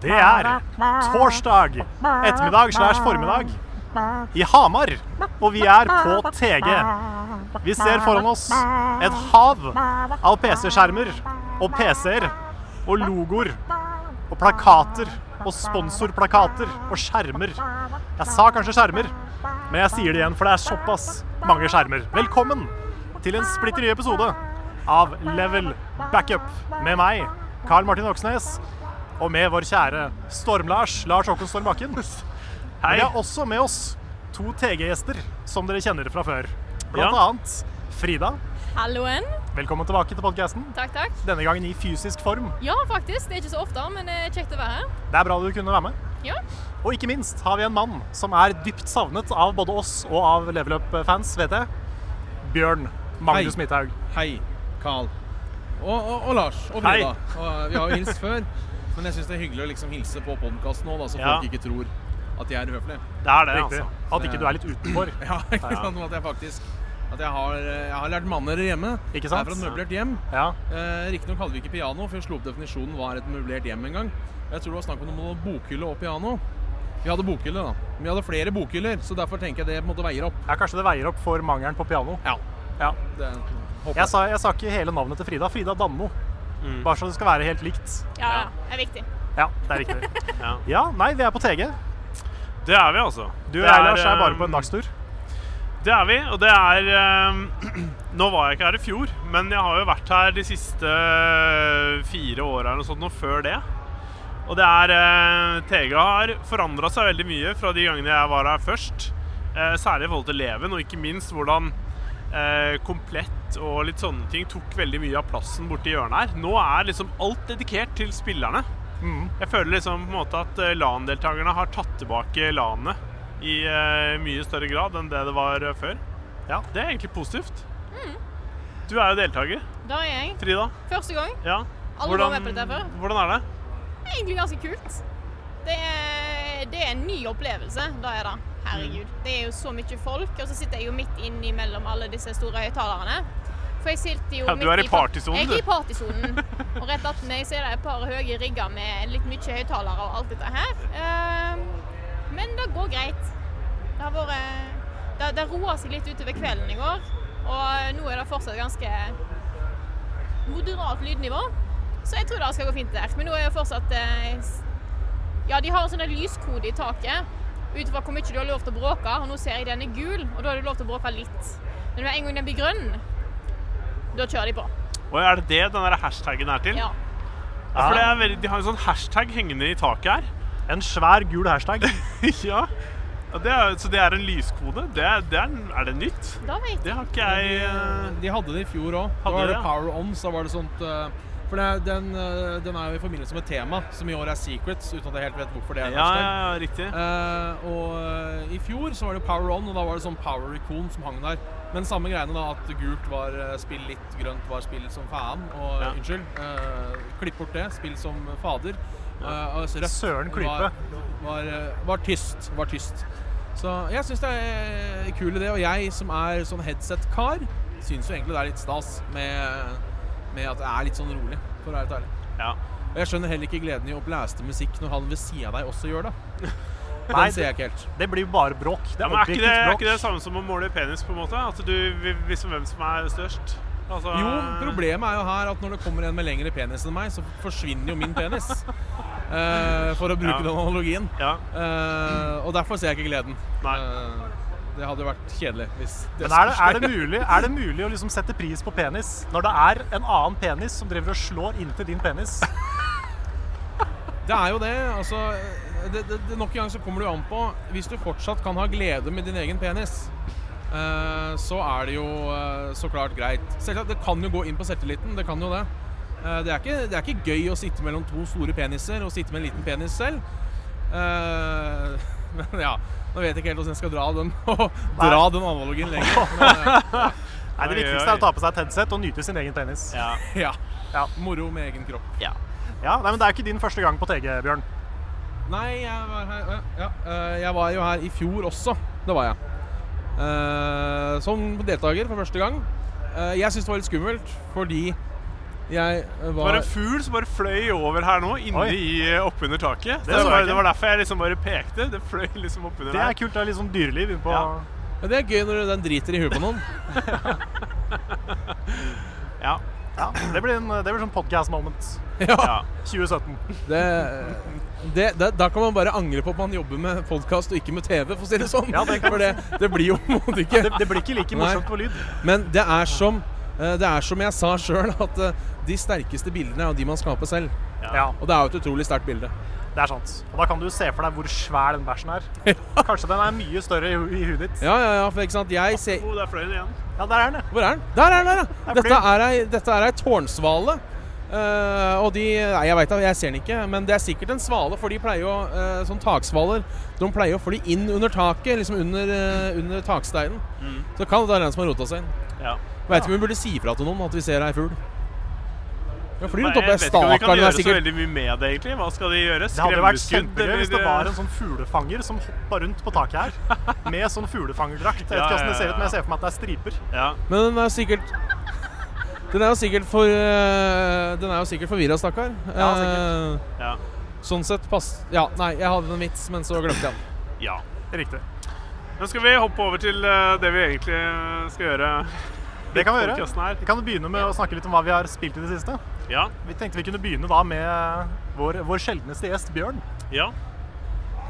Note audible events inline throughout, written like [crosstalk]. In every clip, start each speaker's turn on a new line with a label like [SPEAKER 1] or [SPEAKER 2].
[SPEAKER 1] Det er torsdag ettermiddag slash formiddag i Hamar, og vi er på TG. Vi ser foran oss et hav av PC-skjermer og PC-er og logoer og plakater og sponsorplakater og skjermer. Jeg sa kanskje skjermer, men jeg sier det igjen, for det er såpass mange skjermer. Velkommen til en splitter ny episode av Level Backup med meg, Carl Martin Oksnes, og med vår kjære Storm-Lars, Lars Håkon Storm Bakken. Hei. Vi har også med oss to TG-gjester som dere kjenner fra før. Blant annet Frida.
[SPEAKER 2] Halloen.
[SPEAKER 1] Velkommen tilbake til podcasten.
[SPEAKER 2] Takk, takk.
[SPEAKER 1] Denne gangen i fysisk form.
[SPEAKER 2] Ja, faktisk. Det er ikke så ofte, men eh, kjekt å være her.
[SPEAKER 1] Det er bra du kunne være med.
[SPEAKER 2] Ja.
[SPEAKER 1] Og ikke minst har vi en mann som er dypt savnet av både oss og av Level Up-fans, vet jeg. Bjørn Magnus
[SPEAKER 3] Hei.
[SPEAKER 1] Midthaug.
[SPEAKER 3] Hei, Carl. Og, og, og Lars. Og
[SPEAKER 1] Hei.
[SPEAKER 3] Frida. Og, eh, vi har jo hilst før, men jeg syns det er hyggelig å liksom hilse på podkasten nå, da, så
[SPEAKER 1] Ja.
[SPEAKER 3] folk ikke tror at jeg er uhøflig. [laughs]
[SPEAKER 1] Det er det,
[SPEAKER 3] Riktig.
[SPEAKER 1] altså. At ikke du er litt utenfor.
[SPEAKER 3] Ja, ikke sant? At jeg faktisk at jeg har, eh, jeg har lært mannere hjemme.
[SPEAKER 1] Ikke sant?
[SPEAKER 3] Jeg er fra et møblert hjem.
[SPEAKER 1] Ja.
[SPEAKER 3] Eh, Riktignok hadde vi ikke piano, for jeg slo opp definisjonen hva er et møblert hjem en gang. Jeg tror det var snakk om noe bokhylle og piano. Vi hadde bokhylle, da. Men vi hadde flere bokhyller, så derfor tenker jeg det på en måte veier opp.
[SPEAKER 1] ja, kanskje det veier opp for mangelen på piano.
[SPEAKER 3] Ja.
[SPEAKER 1] Ja.
[SPEAKER 3] Det, håper
[SPEAKER 1] Jeg sa, jeg sa ikke hele navnet til Frida. Frida Danmo. Bare så det skal være helt likt.
[SPEAKER 2] Ja, ja. Det er viktig.
[SPEAKER 1] Ja, det er riktig. [laughs] ja. nei, vi er på TG.
[SPEAKER 4] Det er vi, altså.
[SPEAKER 1] Du
[SPEAKER 4] Det
[SPEAKER 1] og jeg, Lars, er bare
[SPEAKER 4] eh,
[SPEAKER 1] på en dagstur.
[SPEAKER 4] Det er vi, og det er eh, [clears throat] Nå var jeg ikke her i fjor, men jeg har jo vært her de siste eh, fire åra eller noe sånt, og før det. Og det er eh, Tega har forandra seg veldig mye fra de gangene jeg var her først. Eh, særlig i forhold til Leven, og ikke minst hvordan eh, komplett og litt sånne ting tok veldig mye av plassen borti hjørnet her. Nå er liksom alt dedikert til spillerne. Jeg føler liksom på en måte at eh, LAN-deltakerne har tatt tilbake LAN-et i eh, mye større grad enn det det var eh, før. Ja, Det er egentlig positivt.
[SPEAKER 2] Mm.
[SPEAKER 4] Du er jo deltaker,
[SPEAKER 2] Da er jeg.
[SPEAKER 4] Frida.
[SPEAKER 2] Første gang.
[SPEAKER 4] Ja.
[SPEAKER 2] Alle var med på dette før.
[SPEAKER 4] hvordan er det?
[SPEAKER 2] Det er egentlig ganske kult. Det er, det er en ny opplevelse. Da er det. Herregud.
[SPEAKER 4] Mm.
[SPEAKER 2] Det er jo så mye folk, og så sitter jeg jo midt innimellom alle disse store høyttalerne. For jeg sitter jo
[SPEAKER 4] Ja, du
[SPEAKER 2] midt
[SPEAKER 4] er i
[SPEAKER 2] fa-
[SPEAKER 4] partysonen,
[SPEAKER 2] Jeg
[SPEAKER 4] du.
[SPEAKER 2] er i
[SPEAKER 4] [laughs]
[SPEAKER 2] partysonen. Og rett attmed meg så er det et par høye rigger med litt mye høyttalere og alt dette her. Ehm, men det går greit. Det har vært Det, det roa seg litt utover kvelden i går, og nå er det fortsatt ganske moderat lydnivå. Så jeg tror det skal gå fint der. Men nå er det fortsatt eh, s- Ja, de har en sånn der lyskode i taket ut fra hvor mye du har lov til å bråke. Og nå ser jeg den er gul, og da har du lov til å bråke litt. Men med en gang den blir grønn, da kjører de på.
[SPEAKER 4] Og er det det den der hashtagen er til?
[SPEAKER 2] Ja.
[SPEAKER 4] Ja, For det er veldig, De har en sånn hashtag hengende i taket her.
[SPEAKER 1] En svær gul hashtag.
[SPEAKER 4] [laughs] ja. Og det er, så det er en lyskode? Det er, det er, er det nytt?
[SPEAKER 2] Da vet jeg.
[SPEAKER 4] Det har ikke jeg eh,
[SPEAKER 3] De hadde det i fjor òg. Da
[SPEAKER 4] Hadde
[SPEAKER 3] var
[SPEAKER 4] de
[SPEAKER 3] det
[SPEAKER 4] det?
[SPEAKER 3] Power Ons. Da var det sånt eh, For det, er- den, eh, den er jo i forbindelse med tema, som i år er Secrets, uten at jeg helt vet hvorfor det er. en
[SPEAKER 4] Ja,
[SPEAKER 3] hashtag.
[SPEAKER 4] ja, ja, riktig.
[SPEAKER 3] Eh, og eh, i fjor så var det Power On, og da var det sånn Power Recon som hang der. Men samme greiene, da, at gult var eh, spill litt, grønt var spill som faen. Og
[SPEAKER 4] Ja.
[SPEAKER 3] unnskyld, eh, klipp bort det. Spill som fader. Eh, og så rødt
[SPEAKER 1] Søren klype.
[SPEAKER 3] Var, var, eh, var tyst. Var tyst. Så jeg syns det er kul idé, og jeg som er sånn headset-kar, syns jo egentlig det er litt stas med, med at det er litt sånn rolig, for å være helt ærlig.
[SPEAKER 4] Ja.
[SPEAKER 3] Og jeg skjønner heller ikke gleden i å blæste musikk når han ved sida av deg også
[SPEAKER 1] [laughs]
[SPEAKER 3] gjør det.
[SPEAKER 1] Nei,
[SPEAKER 3] Den ser jeg ikke helt.
[SPEAKER 1] Det blir jo bare bråk. Det
[SPEAKER 4] Ja,
[SPEAKER 1] er
[SPEAKER 4] men er ikke, det, er
[SPEAKER 1] objektivt
[SPEAKER 4] ikke det
[SPEAKER 1] bråk.
[SPEAKER 4] samme som å måle penis, på en måte? At du vil vise hvem som er størst? Altså,
[SPEAKER 3] Jo,
[SPEAKER 1] Ah.
[SPEAKER 3] problemet er jo her at når det kommer en med lengre penis enn meg, så forsvinner jo min penis.
[SPEAKER 1] [laughs]
[SPEAKER 3] Eh, for å bruke
[SPEAKER 4] Ja.
[SPEAKER 3] den analogien.
[SPEAKER 4] Ja.
[SPEAKER 3] Eh, og derfor ser jeg ikke gleden.
[SPEAKER 4] Nei.
[SPEAKER 3] Eh, det hadde jo vært kjedelig hvis
[SPEAKER 1] Men er det, er, det mulig, er det mulig å liksom sette pris på penis når det er en annen penis som driver og slår inntil din penis?
[SPEAKER 3] Det er jo det. Altså, det, det, det Nok en gang så kommer det jo an på Hvis du fortsatt kan ha glede med din egen penis, eh, så er det jo eh, så klart greit. Selvsagt, det kan jo gå inn på selvtilliten. Det kan jo det. Eh, det, er ikke, det er ikke gøy å sitte mellom to store peniser og sitte med en liten penis selv. Eh, [laughs] men ja Nå vet jeg ikke helt hvordan jeg skal dra den, [laughs] dra den analogien lenger. Men, eh, ja.
[SPEAKER 1] Nei, Det viktigste er å ta på seg et headset og nyte sin egen tennis.
[SPEAKER 4] Ja.
[SPEAKER 3] Ja. Moro med egen kropp.
[SPEAKER 1] nei, men Det er jo ikke din første gang på TG, Bjørn.
[SPEAKER 3] Nei, jeg var her øh, ja, øh, Jeg var jo her i fjor også. Det var jeg. Eh, som deltaker for første gang. Eh, jeg syntes det var litt skummelt fordi jeg eh,
[SPEAKER 4] Det
[SPEAKER 3] var
[SPEAKER 4] var en fugl som bare fløy over her nå, inni
[SPEAKER 1] Oi.
[SPEAKER 4] i eh, oppunder taket.
[SPEAKER 1] Det
[SPEAKER 4] Det,
[SPEAKER 1] så jeg
[SPEAKER 4] var,
[SPEAKER 1] ikke.
[SPEAKER 4] det var derfor jeg liksom bare pekte. Det fløy liksom oppunder
[SPEAKER 1] Det
[SPEAKER 4] der.
[SPEAKER 1] er kult. Det er litt sånn dyreliv på
[SPEAKER 4] Ja.
[SPEAKER 3] Ja, Det er gøy når den driter i huet på noen.
[SPEAKER 4] Ja.
[SPEAKER 1] Ja, Det blir, en, det blir sånn podcast moment.
[SPEAKER 3] ja,
[SPEAKER 4] ja.
[SPEAKER 1] 2017.
[SPEAKER 3] det, det, det, da kan man bare angre på at man jobber med podkast og ikke med TV, for å si det sånn.
[SPEAKER 1] Ja, det kan
[SPEAKER 3] for det, det blir jo på en måte ikke
[SPEAKER 1] Det, det blir ikke like morsomt
[SPEAKER 3] Nei.
[SPEAKER 1] på lyd.
[SPEAKER 3] Men det er som, eh, det er som jeg sa sjøl, at eh, de sterkeste bildene er jo de man skaper selv.
[SPEAKER 1] Ja,
[SPEAKER 3] Og det er jo et utrolig sterkt bilde.
[SPEAKER 1] det er sant. Og da kan du se for deg hvor svær den bæsjen er. Kanskje den er mye større i, hu- i huet ditt.
[SPEAKER 3] Ja, ja, ja, for ikke sant, jeg ser
[SPEAKER 4] Oh, der fløy den igjen.
[SPEAKER 1] Ja, der er den, ja.
[SPEAKER 3] Hvor er den? Der er den, der, ja!
[SPEAKER 1] Der flyr
[SPEAKER 3] Dette
[SPEAKER 1] den.
[SPEAKER 3] er ei, dette er ei tårnsvale. Eh, og de Nei, jeg veit da, jeg ser den ikke, men det er sikkert en svale, for de pleier jo eh, Sånn taksvaler, de pleier å fly inn under taket, liksom under, eh, under taksteinen.
[SPEAKER 4] Mm.
[SPEAKER 3] Så kan det være den som har rota seg inn.
[SPEAKER 4] Ja.
[SPEAKER 3] Veit ikke om vi burde si fra til noen at vi ser ei fugl. Ja, flyr
[SPEAKER 4] Nei,
[SPEAKER 3] rundt oppe.
[SPEAKER 4] jeg vet ikke om vi kan
[SPEAKER 3] Stakaren
[SPEAKER 4] gjøre
[SPEAKER 3] er
[SPEAKER 4] så
[SPEAKER 3] sikkert
[SPEAKER 4] veldig mye med det, egentlig. Hva skal de gjøre?
[SPEAKER 1] Det hadde jo vært
[SPEAKER 4] Skremmeskudd?
[SPEAKER 1] kjempegøy
[SPEAKER 4] eller-
[SPEAKER 1] hvis det var en sånn fuglefanger som hoppa rundt på taket her med sånn fuglefangerdrakt. Jeg vet
[SPEAKER 4] Ja,
[SPEAKER 1] ikke hvordan det
[SPEAKER 4] ja,
[SPEAKER 1] ser ut,
[SPEAKER 4] ja.
[SPEAKER 1] men jeg ser for meg at det er striper.
[SPEAKER 4] Ja.
[SPEAKER 3] Men den er jo sikkert Den er jo sikkert for øh, Den er jo sikkert forvirra, stakkar.
[SPEAKER 1] Ja,
[SPEAKER 3] Eh,
[SPEAKER 4] Ja.
[SPEAKER 3] sånn sett pass... Ja, nei, jeg hadde en vits, men så glemte jeg den.
[SPEAKER 4] ja.
[SPEAKER 1] Riktig.
[SPEAKER 4] Men skal vi hoppe over til eh, det vi egentlig eh, skal gjøre?
[SPEAKER 1] Det kan vi gjøre.
[SPEAKER 4] podcasten her?
[SPEAKER 1] Vi kan jo begynne med å snakke litt om hva vi har spilt i det siste.
[SPEAKER 4] Ja.
[SPEAKER 1] Vi tenkte vi kunne begynne da med eh, vår, vår sjeldneste gjest, Bjørn.
[SPEAKER 4] ja.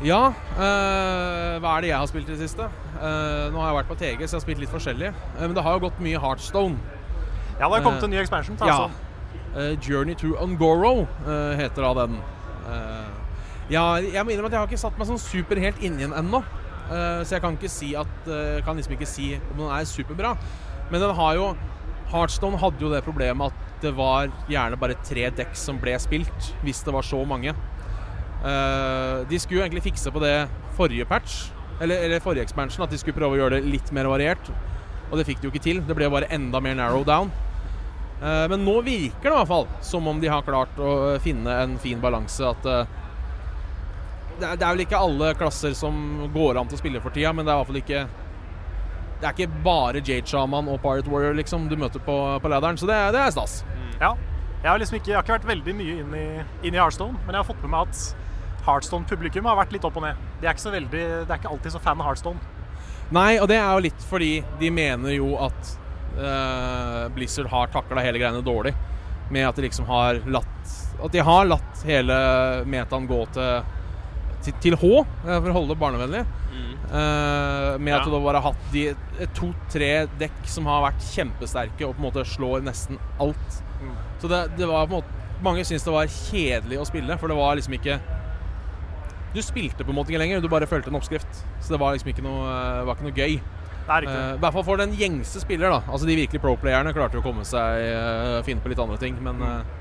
[SPEAKER 3] Ja, øh, hva er det jeg har spilt i det siste? Eh, nå har jeg vært på TG, så jeg har spilt litt forskjellig. Eh, men det har jo gått mye Heartstone.
[SPEAKER 1] Ja, det har kommet en ny expansion. Ta,
[SPEAKER 3] Ja.
[SPEAKER 1] sånn.
[SPEAKER 3] Eh, Journey to Ungoro eh, heter da den. Eh, ja, jeg må innrømme at jeg har ikke satt meg sånn super helt inni den ennå. Eh, så jeg kan ikke si at eh, kan liksom ikke si om den er superbra. Men den har jo Heartstone hadde jo det problemet at det var gjerne bare tre dekk som ble spilt, hvis det var så mange. Eh, de skulle jo egentlig fikse på det forrige patch, eller, eller forrige expansion, at de skulle prøve å gjøre det litt mer variert. Og det fikk de jo ikke til. Det ble jo bare enda mer narrow down. Eh, Men nå virker det i hvert fall som om de har klart å eh, finne en fin balanse. At eh, det er, det er vel ikke alle klasser som går an til å spille for tida, men det er i hvert fall ikke Det er ikke bare Jade Shaman og Pirate Warrior liksom du møter på, på ladderen, så det, er- det er stas.
[SPEAKER 1] ja. Jeg har liksom ikke, jeg har ikke vært veldig mye inn i, inn i Heartstone, men jeg har fått med meg at Heartstone-publikum har vært litt opp og ned. De er ikke, så veldig, de er ikke alltid så fan av Heartstone.
[SPEAKER 3] Nei, og det er jo litt fordi de mener jo at eh, Blizzard har takla hele greiene dårlig. Med at de liksom har latt At de har latt hele metaen gå til til, til H, eh, for å holde det barnevennlig. Eh, med at
[SPEAKER 4] Ja.
[SPEAKER 3] du da bare har hatt de to-tre dekk som har vært kjempesterke og på en måte slår nesten alt. Så det, det var på en måte Mange syntes det var kjedelig å spille, for det var liksom ikke Du spilte på en måte ikke lenger, du bare fulgte en oppskrift. Så det var liksom ikke noe, eh, var ikke noe gøy.
[SPEAKER 1] Det er riktig.
[SPEAKER 3] Eh, I hvert fall for den gjengse spiller, da. Altså De virkelig pro-playerne klarte jo å komme seg eh, finne på litt andre ting, men eh,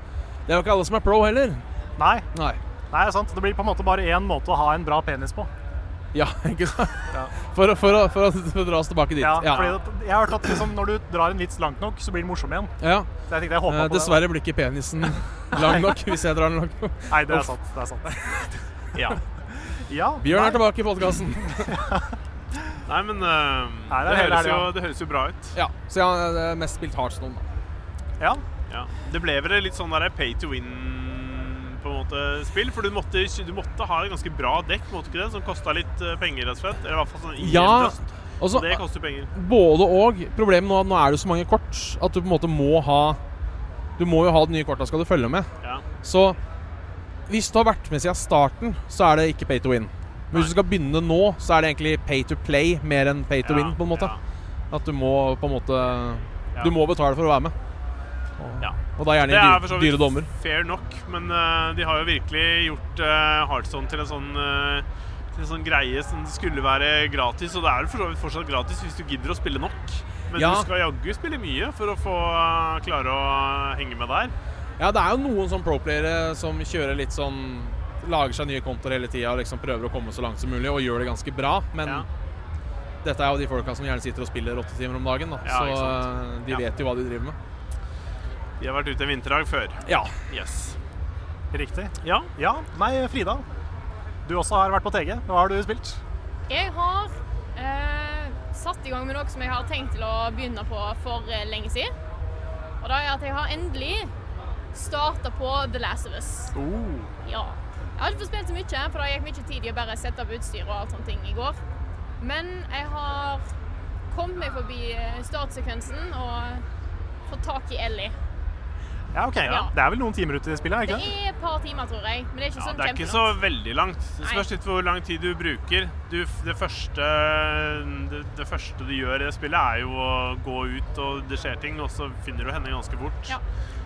[SPEAKER 3] det er jo ikke alle som er pro heller.
[SPEAKER 1] Mm. Nei,
[SPEAKER 3] Nei.
[SPEAKER 1] nei, det er sant. Det blir på en måte bare én måte å ha en bra penis på.
[SPEAKER 3] Ja, [laughs] ikke sant? For, å- for, å- for, å- for å [laughs] dra oss tilbake dit.
[SPEAKER 1] Ja,
[SPEAKER 3] ja.
[SPEAKER 1] fordi det, jeg har hørt at liksom, når du drar en vits langt nok, så blir den morsom igjen.
[SPEAKER 3] Ja.
[SPEAKER 1] Så jeg tenkte jeg håpa
[SPEAKER 3] Eh,
[SPEAKER 1] på det.
[SPEAKER 3] dessverre blir ikke
[SPEAKER 1] [laughs]
[SPEAKER 3] penisen lang nok hvis jeg drar den langt nok.
[SPEAKER 1] Nei, det er sant. [laughs] Det er sant.
[SPEAKER 4] ja.
[SPEAKER 1] Ja,
[SPEAKER 3] Bjørn er
[SPEAKER 1] nei,
[SPEAKER 3] tilbake i podkasten.
[SPEAKER 1] [laughs]
[SPEAKER 4] Nei, men eh,
[SPEAKER 1] Nei, det
[SPEAKER 4] det,
[SPEAKER 1] er hele
[SPEAKER 4] høres jo,
[SPEAKER 1] helga.
[SPEAKER 4] det høres jo bra ut.
[SPEAKER 3] Ja, så jeg har eh, mest spilt Heartstone, da.
[SPEAKER 1] Ja,
[SPEAKER 4] Ja. Det ble vel litt sånn der pay to win på en måte spill, for du måtte, du måtte ha et ganske bra dekk, måtte ikke det? Som kosta litt eh, penger, rett og slett? Eller i hvert fall sånn
[SPEAKER 3] Ja, altså,
[SPEAKER 4] IL-trøst.
[SPEAKER 3] og så-
[SPEAKER 4] Og det koster penger.
[SPEAKER 3] Både og. Problemet nå er at nå er det så mange kort at du på en måte må ha Du må jo ha de nye korta skal du følge med.
[SPEAKER 4] Ja.
[SPEAKER 3] Så hvis du har vært med siden starten, så er det ikke pay to win. Men hvis du skal begynne nå, så er det egentlig pay to play mer enn pay to
[SPEAKER 4] Ja,
[SPEAKER 3] win, på en måte.
[SPEAKER 4] ja.
[SPEAKER 3] At du må på en måte Du må betale for å være med.
[SPEAKER 4] Ja.
[SPEAKER 3] Og da gjerne
[SPEAKER 4] Det
[SPEAKER 3] i
[SPEAKER 4] er for
[SPEAKER 3] dyre,
[SPEAKER 4] så
[SPEAKER 3] dyre
[SPEAKER 4] vidt
[SPEAKER 3] dommer.
[SPEAKER 4] Fair nok, men eh, de har jo virkelig gjort uh, Heartstone til en sånn eh, til en sånn greie som skulle være gratis, og det er jo for så vidt fortsatt gratis hvis du gidder å spille nok. Men
[SPEAKER 3] Ja.
[SPEAKER 4] du skal jaggu spille mye for å få eh, klare å henge med der.
[SPEAKER 3] Ja, det er jo noen sånn pro-playere som kjører litt sånn Lager seg nye kontoer hele tida og liksom prøver å komme så langt som mulig, og gjør det ganske bra, men dette er jo de folka som gjerne sitter og spiller åtte timer om dagen, da.
[SPEAKER 4] Ja, ikke
[SPEAKER 3] så
[SPEAKER 4] sant.
[SPEAKER 3] eh, de
[SPEAKER 4] Ja.
[SPEAKER 3] vet jo hva de driver med.
[SPEAKER 4] De har vært ute en vinterdag før.
[SPEAKER 3] Ja.
[SPEAKER 4] Yes.
[SPEAKER 1] Riktig.
[SPEAKER 4] Ja.
[SPEAKER 1] Ja, nei, Frida. Du også har vært på TG. Hva har du spilt?
[SPEAKER 2] Jeg har eh, satt i gang med noe som jeg har tenkt til å begynne på for eh, lenge siden. Og det er at jeg har endelig starta på The Last of Us.
[SPEAKER 4] Oh.
[SPEAKER 2] Ja. Jeg har ikke fått spilt så mye, for det gikk mye tid i å bare sette opp utstyr og alt sånne ting i går. Men jeg har kommet meg forbi eh, startsekvensen og fått tak i Ellie.
[SPEAKER 1] Ja, ok. Ja.
[SPEAKER 2] Ja.
[SPEAKER 1] Det er vel noen timer ute i spillet? er
[SPEAKER 2] Det
[SPEAKER 1] det ikke det?
[SPEAKER 2] er et par timer, tror jeg. Men det er ikke
[SPEAKER 4] Ja,
[SPEAKER 2] sånn
[SPEAKER 4] det er ikke så
[SPEAKER 2] kjempelangt.
[SPEAKER 4] veldig langt. Det spørs litt hvor lang tid du bruker. Du, det, første, det, det første du gjør i det spillet, er jo å gå ut, og det skjer ting, og så finner du henne ganske fort.
[SPEAKER 2] Ja.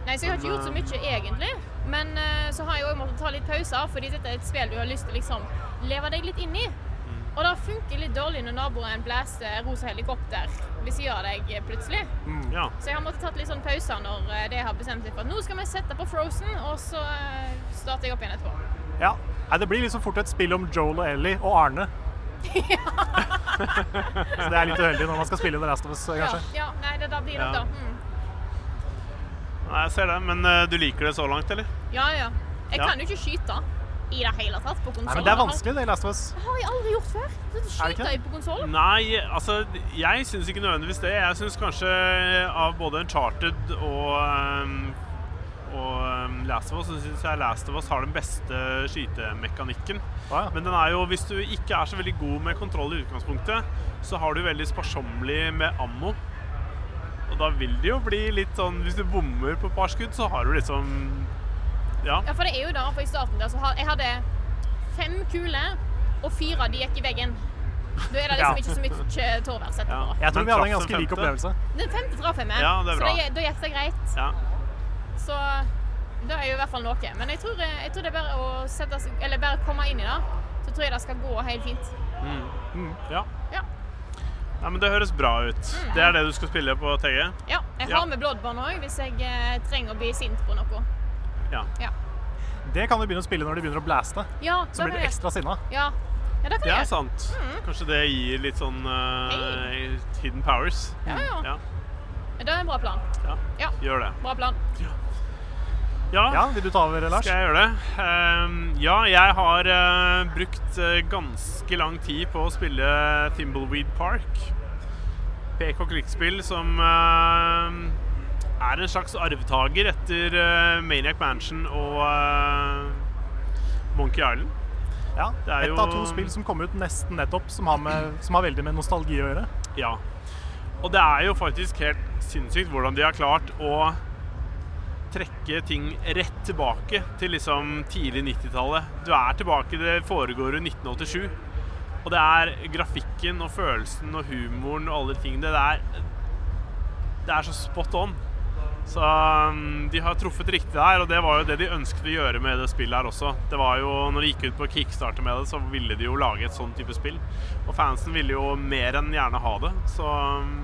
[SPEAKER 2] Nei, så jeg har ikke gjort så mye egentlig. Men eh, så har jeg òg måttet ta litt pauser, fordi dette er et spill du har lyst til å liksom leve deg litt inn i.
[SPEAKER 4] Mm.
[SPEAKER 2] Og det funker litt dårlig når naboen blæser rosa helikopter ved siden av deg eh, plutselig.
[SPEAKER 4] Ja.
[SPEAKER 2] Så jeg har måttet tatt litt sånn pauser når eh, det har bestemt seg for at nå skal vi sette på Frozen, og så eh, starter jeg opp igjen etterpå.
[SPEAKER 1] Ja. Nei, det blir liksom fort et spill om Joel og Ellie og Arne.
[SPEAKER 4] [laughs]
[SPEAKER 1] Så det er litt uheldig når man skal spille The Last of Us,
[SPEAKER 2] Ja,
[SPEAKER 1] kanskje.
[SPEAKER 2] ja, nei, det da blir det
[SPEAKER 4] Ja.
[SPEAKER 2] da. Mm.
[SPEAKER 4] Nei, jeg ser det, men eh, du liker det så langt, eller?
[SPEAKER 2] Ja, ja. Jeg
[SPEAKER 4] Ja.
[SPEAKER 2] kan jo ikke skyte i det hele tatt på konsollen.
[SPEAKER 1] Nei, men det er vanskelig, det, i Last of Us.
[SPEAKER 2] Det har jeg aldri gjort før. Så
[SPEAKER 1] det ikke
[SPEAKER 2] Skyter
[SPEAKER 1] det?
[SPEAKER 2] jeg på konsollen?
[SPEAKER 4] Nei, altså, jeg syns ikke nødvendigvis det. Jeg syns kanskje eh, av både Uncharted og ehm, og ehm, Last of Us, så syns jeg Last of Us har den beste skytemekanikken.
[SPEAKER 1] Å, ja.
[SPEAKER 4] Men den er jo, hvis du ikke er så veldig god med kontroll i utgangspunktet, så har du veldig sparsommelig med ammo. Og da vil det jo bli litt sånn Hvis du bommer på et par skudd, så har du liksom Ja.
[SPEAKER 2] Ja, for det er jo da, for i starten der så har, jeg hadde fem kuler, og fire av de gikk i veggen. Da er det
[SPEAKER 1] Ja.
[SPEAKER 2] liksom ikke så mye tårvær sett
[SPEAKER 4] Ja.
[SPEAKER 2] på.
[SPEAKER 1] Jeg tror
[SPEAKER 4] Men
[SPEAKER 1] vi hadde en
[SPEAKER 4] traff den
[SPEAKER 1] ganske lik
[SPEAKER 4] femte.
[SPEAKER 1] opplevelse.
[SPEAKER 2] Den femte traff jeg med,
[SPEAKER 4] Ja, det
[SPEAKER 2] så
[SPEAKER 4] er bra.
[SPEAKER 2] det- da gikk det greit.
[SPEAKER 4] ja.
[SPEAKER 2] Så det er jo i hvert fall noe. Men jeg tror, jeg tror det er bare å sette seg, eller bare komme inn i det, så tror jeg det skal gå helt fint.
[SPEAKER 4] ja.
[SPEAKER 2] Ja.
[SPEAKER 4] Nei, men det høres bra ut. Det er det du skal spille på TG?
[SPEAKER 2] Ja, jeg
[SPEAKER 4] Ja.
[SPEAKER 2] har med Bloodborne òg, hvis jeg eh, trenger å bli sint på noe.
[SPEAKER 4] Ja.
[SPEAKER 2] Ja,
[SPEAKER 1] Det kan du begynne å spille når de begynner å blaste.
[SPEAKER 2] ja
[SPEAKER 1] Så blir du ekstra sinna.
[SPEAKER 2] Ja, ja det kan
[SPEAKER 4] Det
[SPEAKER 2] jeg
[SPEAKER 4] er
[SPEAKER 2] gjøre.
[SPEAKER 4] sant. Kanskje det gir litt sånn eh, hidden powers.
[SPEAKER 2] Ja, ja.
[SPEAKER 4] Ja,
[SPEAKER 2] Det er en bra plan.
[SPEAKER 4] ja.
[SPEAKER 2] Ja,
[SPEAKER 4] Gjør det.
[SPEAKER 2] bra plan.
[SPEAKER 4] Ja,
[SPEAKER 1] Ja, vil du ta over, Lars?
[SPEAKER 4] skal jeg gjøre det? Ehm, ja, jeg har eh, brukt eh, ganske lang tid på å spille Thimbleweed Park. PK Klikkspill som eh, er en slags arvtaker etter eh, Maniac Mansion og eh, Monkey Island.
[SPEAKER 1] Ja.
[SPEAKER 4] Det er
[SPEAKER 1] Et av to
[SPEAKER 4] jo-
[SPEAKER 1] spill som kom ut nesten nettopp, som har, med, som har veldig med nostalgi å gjøre.
[SPEAKER 4] Ja. Og det er jo faktisk helt sinnssykt hvordan de har klart å trekke ting rett tilbake til liksom tidlig 90-tallet. Du er tilbake, det foregår jo 1987. Og det er grafikken og følelsen og humoren og alle de tingene. Det er, det er så spot on. Så um, de har truffet riktig der, og det var jo det de ønsket å gjøre med det spillet her også. Det var jo, når de gikk ut på kickstarter med det, så ville de jo lage et sånn type spill. Og fansen ville jo mer enn gjerne ha det, så um,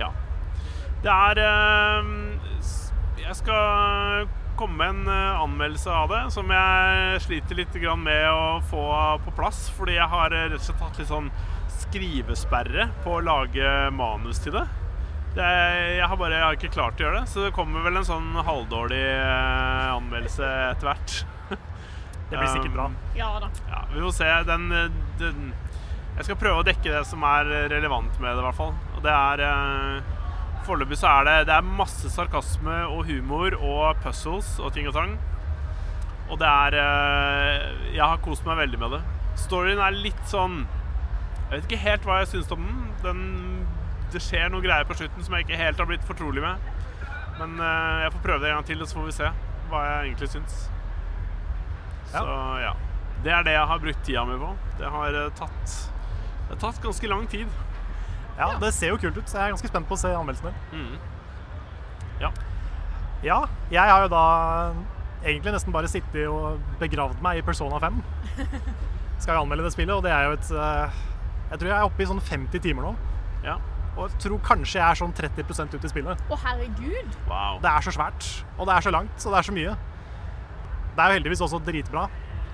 [SPEAKER 4] ja. Det er um, s- Jeg skal komme med en uh, anmeldelse av det, som jeg sliter litt grann med å få på plass, fordi jeg har uh, rett og slett hatt litt sånn skrivesperre på å lage manus til det. Det, jeg har bare jeg har ikke klart å gjøre det, så det kommer vel en sånn halvdårlig eh, anmeldelse etter hvert.
[SPEAKER 1] Det blir sikkert
[SPEAKER 4] Um,
[SPEAKER 1] bra.
[SPEAKER 2] Ja da.
[SPEAKER 4] Ja, vi får se. Den, eh, den Jeg skal prøve å dekke det som er relevant med det, i hvert fall. Og det er eh, Foreløpig så er det, det er masse sarkasme og humor og puzzles og ting og tang. Og det er eh, Jeg har kost meg veldig med det. Storyen er litt sånn Jeg vet ikke helt hva jeg syns om den. den. Det skjer noen greier på slutten som jeg ikke helt har blitt fortrolig med. Men eh, jeg får prøve det en gang til, og så får vi se hva jeg egentlig syns. Så ja. Det er det jeg har brukt tida mi på. Det har eh, tatt Det har tatt ganske lang tid. Mm.
[SPEAKER 1] Ja, Det ser jo kult ut, så jeg er ganske spent på å se anmeldelsen din.
[SPEAKER 4] Ja.
[SPEAKER 1] Ja, jeg har jo da egentlig nesten bare sittet og begravd meg i Persona
[SPEAKER 4] [laughs]
[SPEAKER 1] 5. Skal jo anmelde det spillet, og det er jo et eh, Jeg tror jeg er oppe i sånn 50 timer nå.
[SPEAKER 4] Ja.
[SPEAKER 1] Og jeg tror kanskje jeg er sånn 30 ut i spillet.
[SPEAKER 2] Å, herregud!
[SPEAKER 4] Wow.
[SPEAKER 1] Det er så svært, og det er så langt, og det er så mye. Det er jo heldigvis også dritbra.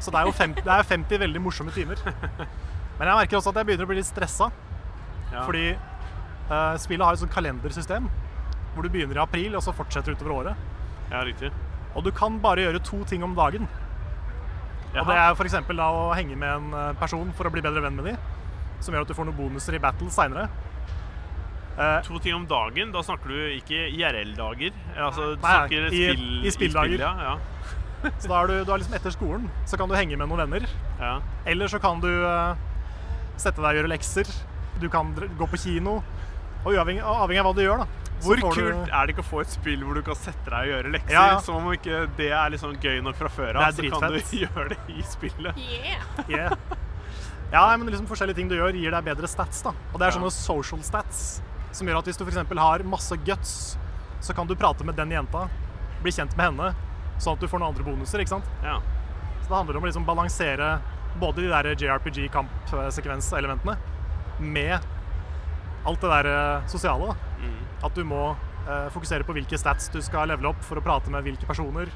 [SPEAKER 1] Så det er jo 50, det er jo 50 veldig morsomme timer. Men jeg merker også at jeg begynner å bli litt stressa.
[SPEAKER 4] Ja.
[SPEAKER 1] Fordi eh, spillet har et sånt kalendersystem hvor du begynner i april og så fortsetter utover året.
[SPEAKER 4] Ja, riktig.
[SPEAKER 1] Og du kan bare gjøre to ting om dagen. Og det
[SPEAKER 4] Jaha.
[SPEAKER 1] er for eksempel da å henge med en eh, person for å bli bedre venn med dem. Som gjør at du får noen bonuser i battle seinere.
[SPEAKER 4] To ting om dagen. Da snakker du ikke IRL-dager. Altså, du
[SPEAKER 1] Nei,
[SPEAKER 4] snakker
[SPEAKER 1] i-
[SPEAKER 4] spill,
[SPEAKER 1] i spilldager.
[SPEAKER 4] ja, ja.
[SPEAKER 1] Så da er du, du er liksom etter skolen, så kan du henge med noen venner.
[SPEAKER 4] ja.
[SPEAKER 1] Eller så kan du eh, sette deg og gjøre lekser. Du kan dr- gå på kino. Og uavhengig, avhengig av hva du gjør, da. så
[SPEAKER 4] Hvor
[SPEAKER 1] får
[SPEAKER 4] kult
[SPEAKER 1] du- [laughs]
[SPEAKER 4] er det ikke å få et spill hvor du kan sette deg og gjøre lekser?
[SPEAKER 1] Ja, ja.
[SPEAKER 4] Som om ikke det er liksom gøy nok fra før av, så
[SPEAKER 1] Det er
[SPEAKER 4] kan
[SPEAKER 1] dritfett.
[SPEAKER 4] du [laughs] gjøre det i spillet.
[SPEAKER 2] Yeah!
[SPEAKER 1] Yeah. Ja, nei, men liksom forskjellige ting du gjør, gir deg bedre stats. da. Og det er
[SPEAKER 4] Ja.
[SPEAKER 1] sånne social stats som gjør at hvis du f.eks. har masse guts, så kan du prate med den jenta, bli kjent med henne, sånn at du får noen andre bonuser. ikke sant?
[SPEAKER 4] Ja.
[SPEAKER 1] Så det handler om å liksom balansere både de der JRPG-kampsekvenselementene med alt det der eh, sosiale. da. At du må eh, fokusere på hvilke stats du skal levele opp for å prate med hvilke personer.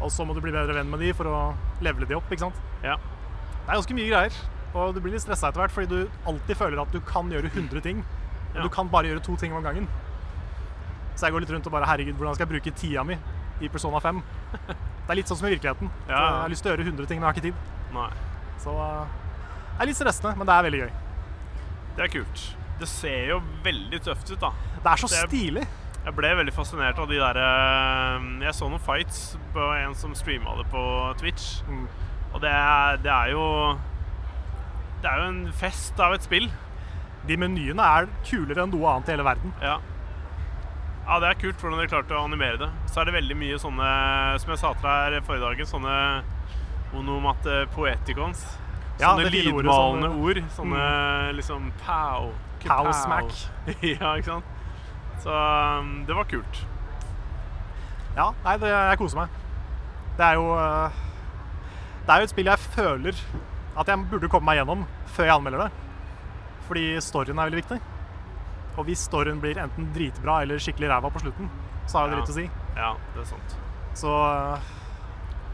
[SPEAKER 1] Og så må du bli bedre venn med de for å levele de opp. ikke sant?
[SPEAKER 4] Ja.
[SPEAKER 1] Det er ganske mye greier. Og du blir litt stressa etter hvert fordi du alltid føler at du kan gjøre 100 ting. Men
[SPEAKER 4] Ja.
[SPEAKER 1] du kan bare gjøre to ting om gangen. Så jeg går litt rundt og bare Herregud, hvordan skal jeg bruke tida mi i Persona 5? Det er litt sånn som i virkeligheten.
[SPEAKER 4] Ja.
[SPEAKER 1] Så Jeg har lyst til å gjøre 100 ting, men jeg har ikke tid.
[SPEAKER 4] Nei.
[SPEAKER 1] Så eh, det er litt stressende, men det er veldig gøy.
[SPEAKER 4] Det er kult. Det ser jo veldig tøft ut, da.
[SPEAKER 1] Det er så
[SPEAKER 4] Det er-
[SPEAKER 1] stilig.
[SPEAKER 4] Jeg ble veldig fascinert av de der eh, Jeg så noen fights på en som streama det på Twitch.
[SPEAKER 1] Mm.
[SPEAKER 4] Og det er, det er jo Det er jo en fest av et spill.
[SPEAKER 1] De menyene er kulere enn noe annet i hele verden.
[SPEAKER 4] Ja. ja, det er kult hvordan dere klarte å animere det. Så er det veldig mye sånne, som jeg sa til deg her forrige dagen, sånne onomate poeticons.
[SPEAKER 1] Ja,
[SPEAKER 4] sånne
[SPEAKER 1] det fine ordet
[SPEAKER 4] lydmalende
[SPEAKER 1] som-
[SPEAKER 4] ord. Sånne liksom pow.
[SPEAKER 1] Pow,
[SPEAKER 4] kapow.
[SPEAKER 1] smack.
[SPEAKER 4] [laughs] ja, ikke sant. Så um, det var kult.
[SPEAKER 1] Ja, nei, det, jeg koser meg. Det er jo eh, Det er jo et spill jeg føler at jeg burde komme meg gjennom før jeg anmelder det. Fordi storyen er veldig viktig. Og hvis storyen blir enten dritbra eller skikkelig ræva på slutten, så har jo det
[SPEAKER 4] Ja.
[SPEAKER 1] litt å si.
[SPEAKER 4] Ja, det er sant.
[SPEAKER 1] Så eh,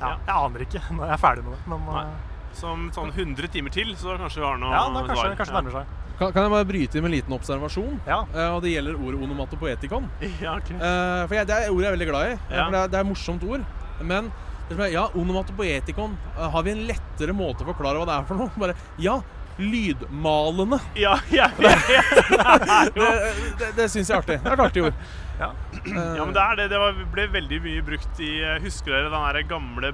[SPEAKER 1] ja,
[SPEAKER 4] Ja.
[SPEAKER 1] jeg aner ikke [laughs] når jeg er ferdig med det. Men eh,
[SPEAKER 4] Nei. Som sånn 100 timer til, så kanskje vi har noe
[SPEAKER 1] ja, da kanskje,
[SPEAKER 4] svar.
[SPEAKER 1] kanskje det nærmer seg.
[SPEAKER 3] Kan, kan jeg bare bryte inn med en liten observasjon?
[SPEAKER 1] Ja.
[SPEAKER 3] Eh, og det gjelder ordet onomatopoetikon.
[SPEAKER 4] Ja, ok.
[SPEAKER 3] Eh, for jeg, det er ordet jeg er veldig glad i. eh,
[SPEAKER 4] Ja.
[SPEAKER 3] For det er, det er et morsomt ord. Men det som er, ja, onomatopoetikon. eh, har vi en lettere måte å forklare hva det er for noe? Bare ja,
[SPEAKER 4] [laughs]
[SPEAKER 3] lydmalende.
[SPEAKER 4] Ja, ja, ja, ja.
[SPEAKER 3] Det, det, det syns jeg er artig. Det er et artig ord. Eh.
[SPEAKER 4] ja, men det er det. Det var, ble veldig mye brukt i eh, Husker dere den der gamle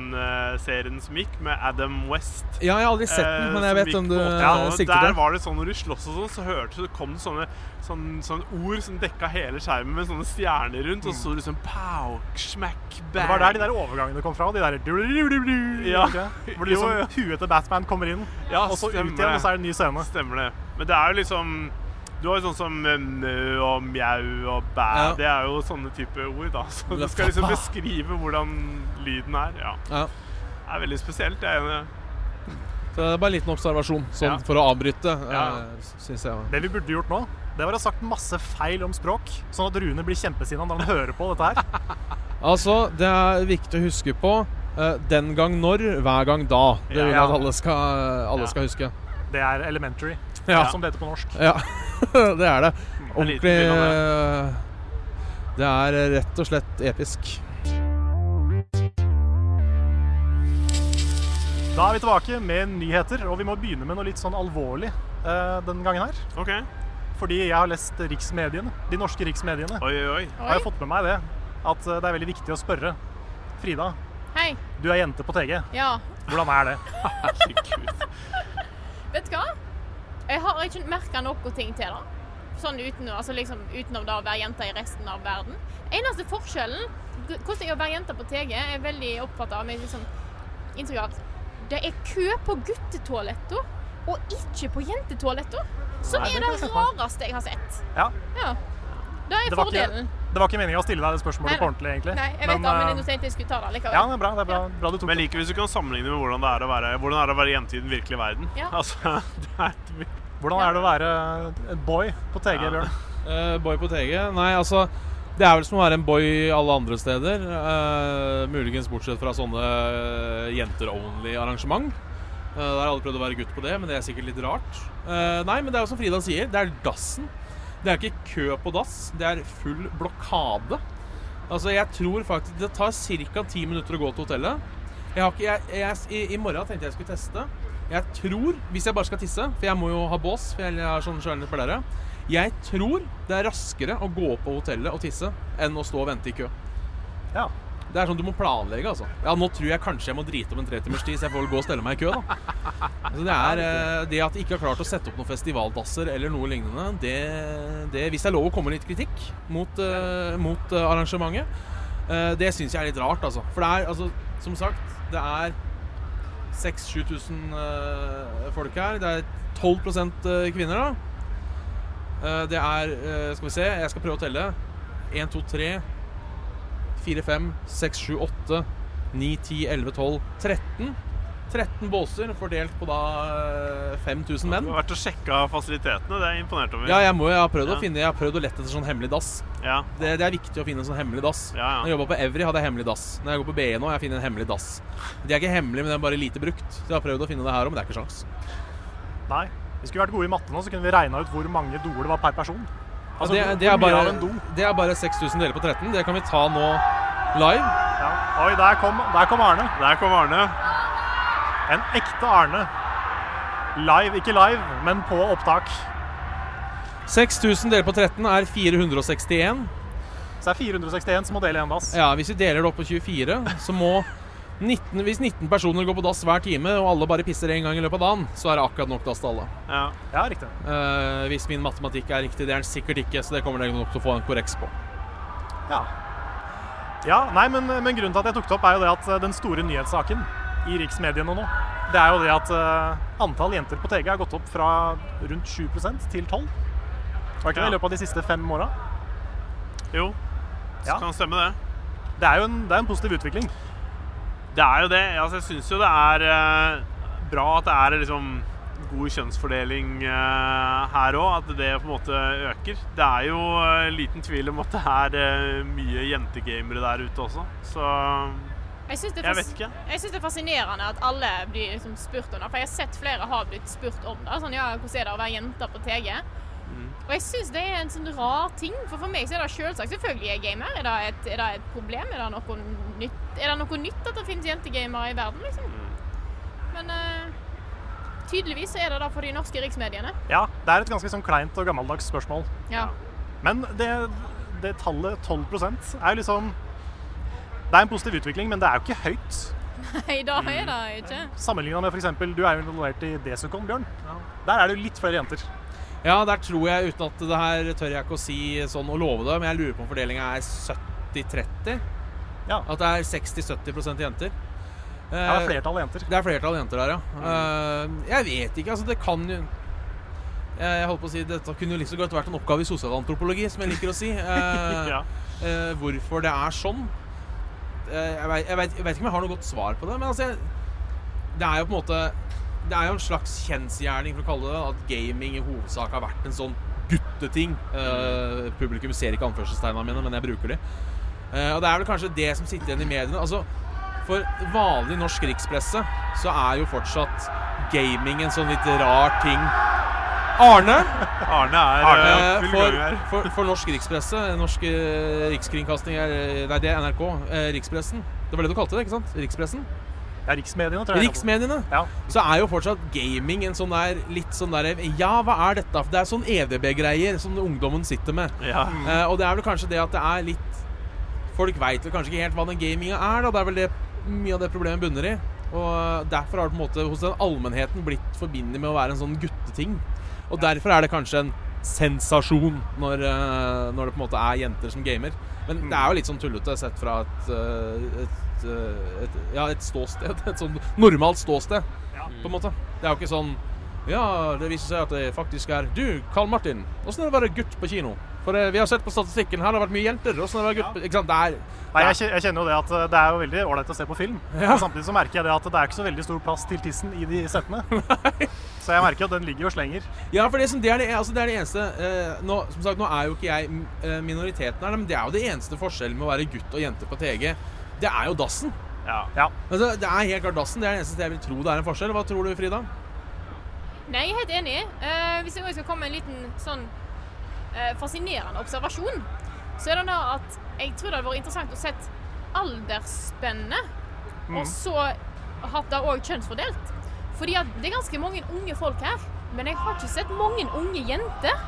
[SPEAKER 4] Batman-serien som gikk, med Adam West?
[SPEAKER 3] Ja, jeg har aldri sett den,
[SPEAKER 4] Eh,
[SPEAKER 3] men
[SPEAKER 4] som
[SPEAKER 3] jeg vet
[SPEAKER 4] gikk
[SPEAKER 3] hvem
[SPEAKER 4] på
[SPEAKER 3] du
[SPEAKER 4] 80-tallet.
[SPEAKER 3] sikter
[SPEAKER 4] Der
[SPEAKER 3] til.
[SPEAKER 4] var det sånn når du sloss og sånn, så hørte du kom det sånne, sånn- sånn ord som dekka hele skjermen med sånne stjerner rundt, og så
[SPEAKER 3] Mm.
[SPEAKER 4] sto det sånn pow, smack, bang.
[SPEAKER 1] Det var der de der overgangene kom fra. De der du-du-du-du-du,
[SPEAKER 4] Ja.
[SPEAKER 1] ikke? Hvor det liksom
[SPEAKER 4] Jo,
[SPEAKER 1] huet til Batman kommer inn,
[SPEAKER 4] Ja,
[SPEAKER 1] og så ut
[SPEAKER 4] stemmer
[SPEAKER 1] igjen, og så er det en ny scene.
[SPEAKER 4] Stemmer det. Men det er jo liksom Du har jo sånn som eh, mø og mjau og bæ.
[SPEAKER 3] Ja.
[SPEAKER 4] Det er jo sånne type ord, da. Så du skal liksom beskrive hvordan lyden er. Ja.
[SPEAKER 3] Ja.
[SPEAKER 4] Det er veldig spesielt. Jeg er enig.
[SPEAKER 3] Så det er bare en liten observasjon, sånn
[SPEAKER 4] Ja.
[SPEAKER 3] for å avbryte, eh,
[SPEAKER 4] Ja.
[SPEAKER 3] syns jeg.
[SPEAKER 1] Det vi burde gjort nå, det var å ha sagt masse feil om språk, sånn at Rune blir kjempesinna når han hører på dette her.
[SPEAKER 3] Altså, det er viktig å huske på eh, den gang når, hver gang da. Det vil jeg
[SPEAKER 1] Ja.
[SPEAKER 3] at alle skal, alle
[SPEAKER 4] Ja.
[SPEAKER 3] skal huske.
[SPEAKER 1] Det er elementary,
[SPEAKER 3] Ja.
[SPEAKER 1] som det heter på norsk.
[SPEAKER 3] Ja, [laughs] det er det.
[SPEAKER 4] En liten
[SPEAKER 3] Ordentlig
[SPEAKER 4] film av
[SPEAKER 3] eh, Det er rett og slett episk.
[SPEAKER 1] Da er vi tilbake med nyheter, og vi må begynne med noe litt sånn alvorlig eh, den gangen her.
[SPEAKER 4] OK.
[SPEAKER 1] Fordi jeg har lest riksmediene, de norske riksmediene.
[SPEAKER 4] Oi, oi, oi.
[SPEAKER 1] Jeg har jo fått med meg det, at eh, det er veldig viktig å spørre. Frida,
[SPEAKER 2] Hei.
[SPEAKER 1] du er jente på TG.
[SPEAKER 2] Ja.
[SPEAKER 1] Hvordan er det?
[SPEAKER 4] Herregud.
[SPEAKER 2] Vet du hva? Jeg har ikke merka noe ting til det. Sånn uten, altså liksom, utenom det å være jente i resten av verden. Eneste forskjellen Hvordan det er å være jente på TG, er veldig oppfatta av med liksom, inntrykk av at det er kø på guttetoaletter, og ikke på jentetoaletter. Som
[SPEAKER 1] Nei, det
[SPEAKER 2] er
[SPEAKER 1] kan
[SPEAKER 2] det
[SPEAKER 1] jeg se for meg.
[SPEAKER 2] rareste jeg har sett.
[SPEAKER 1] Ja.
[SPEAKER 2] Ja. Det er
[SPEAKER 1] Det var ikke-
[SPEAKER 2] fordelen.
[SPEAKER 1] Det var ikke meningen å stille deg det spørsmålet
[SPEAKER 2] Nei,
[SPEAKER 1] på ordentlig, egentlig.
[SPEAKER 2] Nei, jeg vet det, men
[SPEAKER 1] eh,
[SPEAKER 2] jeg tenkte jeg skulle ta det likevel.
[SPEAKER 1] ja, det er bra. Det er bra, bra du tok
[SPEAKER 4] Men jeg liker hvis du kan sammenligne med hvordan det er å være, hvordan det er å være jente i den virkelige verden.
[SPEAKER 2] Ja.
[SPEAKER 4] Altså, det er,
[SPEAKER 1] det. Hvordan er det å være en boy på TG,
[SPEAKER 4] Ja.
[SPEAKER 1] Bjørn?
[SPEAKER 3] Eh, boy på TG? Nei, altså Det er vel som å være en boy alle andre steder. eh, muligens bortsett fra sånne eh, jenter-only-arrangement. Eh, der har alle prøvd å være gutt på det, men det er sikkert litt rart. Eh, nei, men det er jo som Frida sier, det er dassen. Det er ikke kø på dass, det er full blokade. Altså, jeg tror faktisk Det tar ca. ti minutter å gå til hotellet. Jeg har ikke, jeg, jeg, i, I morgen tenkte jeg skulle teste. Jeg tror, hvis jeg bare skal tisse, for jeg må jo ha bås for jeg har sånn skjønne pleiere Jeg tror det er raskere å gå på hotellet og tisse enn å stå og vente i kø.
[SPEAKER 1] Ja.
[SPEAKER 3] Det er sånn du må planlegge, altså. Ja, nå tror jeg kanskje jeg må drite om en tretimers tid, så jeg får vel gå og stelle meg i kø, da. Altså, det er eh, det at de ikke har klart å sette opp noen festivaldasser eller noe lignende, det, det Hvis det er lov å komme med litt kritikk mot, eh, mot eh, arrangementet, eh, det syns jeg er litt rart, altså. For det er, altså, som sagt, det er 6000-7000 eh, folk her. Det er 12 eh, kvinner, da. Eh, det er eh, Skal vi se, jeg skal prøve å telle. 1, 2, 3, 4, 5, 6, 7, 8, 9, 10, 11, 12, 13. 13 båser fordelt på da eh, 5000
[SPEAKER 4] du
[SPEAKER 3] menn.
[SPEAKER 4] har vært og sjekka fasilitetene. Det er jeg imponert over.
[SPEAKER 3] Ja, jeg, må, jeg har prøvd å
[SPEAKER 4] Ja.
[SPEAKER 3] finne Jeg har prøvd å lette etter sånn hemmelig dass.
[SPEAKER 4] Ja.
[SPEAKER 3] Det, det er viktig å finne en sånn hemmelig dass.
[SPEAKER 4] Ja, ja.
[SPEAKER 3] Når jeg jobba på Evry, hadde jeg hemmelig dass. Når jeg går på BE nå, jeg finner en hemmelig dass. De er ikke hemmelige, men de er bare lite brukt. Så jeg har prøvd å finne det her òg, men det er ikke sjans.
[SPEAKER 1] Nei. Vi skulle vært gode i matte nå, så kunne vi regna ut hvor mange doer det var per person. Altså,
[SPEAKER 3] det,
[SPEAKER 1] hvor-
[SPEAKER 3] det, er
[SPEAKER 1] hvor mye
[SPEAKER 3] bare,
[SPEAKER 1] av en do.
[SPEAKER 3] det er bare 6000 deler på 13. Det kan vi ta nå live.
[SPEAKER 1] Ja. Oi, der kom, der kom Arne.
[SPEAKER 4] Der kom Arne.
[SPEAKER 1] En ekte Arne. Live, ikke live, men på opptak.
[SPEAKER 3] 6000 deler på 13 er 461.
[SPEAKER 1] Så det er 461 som må dele en dass.
[SPEAKER 3] Ja, Hvis vi deler det opp på 24, så må 19, Hvis 19 personer går på dass hver time, og alle bare pisser én gang i løpet av dagen, så er det akkurat nok dass til alle.
[SPEAKER 4] Ja.
[SPEAKER 1] Ja, riktig.
[SPEAKER 3] Eh, hvis min matematikk er riktig, det er den sikkert ikke, så det kommer dere nok til å få en korreks på.
[SPEAKER 1] Ja. ja nei, men, men grunnen til at jeg tok det opp, er jo det at eh, den store nyhetssaken i riksmediene nå, det er jo det at eh, antall jenter på TG har gått opp fra rundt 7 til 12 Var ikke det
[SPEAKER 4] Ja.
[SPEAKER 1] i løpet av de siste fem åra?
[SPEAKER 4] Jo, så
[SPEAKER 1] Ja.
[SPEAKER 4] kan stemme det.
[SPEAKER 1] Det er jo en, det er en positiv utvikling.
[SPEAKER 4] Det er jo det. Altså, jeg syns jo det er eh, bra at det er liksom god kjønnsfordeling eh, her òg, at det på en måte øker. Det er jo eh, liten tvil om at det er eh, mye jentegamere der ute også, så
[SPEAKER 2] Jeg syns det, er
[SPEAKER 4] jeg
[SPEAKER 2] fas-
[SPEAKER 4] vet ikke.
[SPEAKER 2] jeg synes det er fascinerende at alle blir liksom spurt om det. For jeg har sett flere har blitt spurt om det. Sånn, ja, hvordan er det å være jente på TG? Og jeg syns det er en sånn rar ting. For for meg så er det selvsagt. Selvfølgelig er jeg gamer. Er det et, er det et problem? Er det, noe nytt? er det noe nytt at det finnes jentegamere i verden, liksom? Men eh, tydeligvis så er det det for de norske riksmediene.
[SPEAKER 1] Ja, det er et ganske sånn kleint og gammeldags spørsmål.
[SPEAKER 2] Ja.
[SPEAKER 1] Men det, det tallet 12 er jo liksom Det er en positiv utvikling, men det er jo ikke høyt.
[SPEAKER 2] [laughs] I dag er det ikke.
[SPEAKER 1] Sammenligna med f.eks. du er jo involvert i Desicon, Bjørn. Der er det jo litt flere jenter.
[SPEAKER 3] Ja, der tror jeg, uten at det her tør jeg ikke å si sånn og love det, men jeg lurer på om fordelinga er 70-30.
[SPEAKER 1] Ja.
[SPEAKER 3] At det er 60-70 jenter.
[SPEAKER 1] Ja, det
[SPEAKER 3] Eh,
[SPEAKER 1] er Mm. flertall av jenter.
[SPEAKER 3] Det er flertall jenter der, ja. Eh, jeg vet ikke, altså det kan jo Jeg holdt på å si, dette kunne jo like så godt vært en oppgave i sosialantropologi, som jeg liker å
[SPEAKER 1] [laughs]
[SPEAKER 3] si. Eh,
[SPEAKER 4] Ja.
[SPEAKER 3] eh, hvorfor det er sånn. Eh, jeg, vet, jeg, vet, jeg vet ikke om jeg har noe godt svar på det, men altså jeg, Det er jo på en måte Det er jo en slags kjensgjerning, for å kalle det det, at gaming i hovedsak har vært en sånn gutteting. Eh, publikum ser ikke anførselstegna mine, men jeg bruker de. Eh, og det er vel kanskje det som sitter igjen i mediene. Altså, for vanlig norsk rikspresse så er jo fortsatt gaming en sånn litt rar ting. Arne!
[SPEAKER 4] Arne er
[SPEAKER 3] Eh,
[SPEAKER 4] Arne, full
[SPEAKER 3] for,
[SPEAKER 4] gang her.
[SPEAKER 3] for, for norsk rikspresse, norsk eh, rikskringkasting er eh, Nei, det er NRK. eh, Rikspressen. Det var det du kalte det, ikke sant? Rikspressen?
[SPEAKER 1] Ja, riksmediene, tror jeg.
[SPEAKER 3] Riksmediene!
[SPEAKER 1] Ja.
[SPEAKER 3] Så er jo fortsatt gaming en sånn der litt sånn der Ja, hva er dette? Det er sånn EDB-greier som ungdommen sitter med.
[SPEAKER 4] Ja.
[SPEAKER 1] Mm.
[SPEAKER 3] Eh, og det er vel kanskje det at det er litt Folk veit vel kanskje ikke helt hva den gaminga er, da. Det er vel det mye av det problemet bunner i. Og eh, derfor har det på en måte hos den allmennheten blitt forbindet med å være en sånn gutteting. Og derfor er det kanskje en sensasjon når, eh, når det på en måte er jenter som gamer. Men det er jo litt sånn tullete sett fra et, eh, et, eh, et Ja, et ståsted. [laughs] Et sånn normalt ståsted, på en måte. Det er jo ikke sånn ja, det viser seg at det faktisk er Du, Karl Martin, åssen er det å være gutt på kino? For eh, vi har sett på statistikken her, det har vært mye jenter. Og sånn har det vært gutter. Ikke sant? Det er,
[SPEAKER 1] Nei, jeg kje- jeg kjenner jo det at eh, det er jo veldig ålreit å se på film. Men samtidig så merker jeg det at det er ikke så veldig stor plass til tissen i de [laughs] settene. Så jeg merker at den ligger og slenger.
[SPEAKER 3] Ja, for det, som, det, er det, altså, det er det eneste eh, nå, Som sagt, nå er jo ikke jeg mm, eh, minoriteten her, men det er jo det eneste forskjellen med å være gutt og jente på TG. Det er jo dassen.
[SPEAKER 1] Ja.
[SPEAKER 3] Altså, det er helt klart dassen. Det er det eneste jeg vil tro det er en forskjell. Hva tror du, Frida?
[SPEAKER 2] Nei, jeg er helt enig. Eh, hvis jeg også skal komme med en liten sånn eh, fascinerende observasjon, så er det da at jeg tror det hadde vært interessant å sett aldersspennet, og så hatt det òg kjønnsfordelt. Fordi at det er ganske mange unge folk her, men jeg har ikke sett mange unge jenter.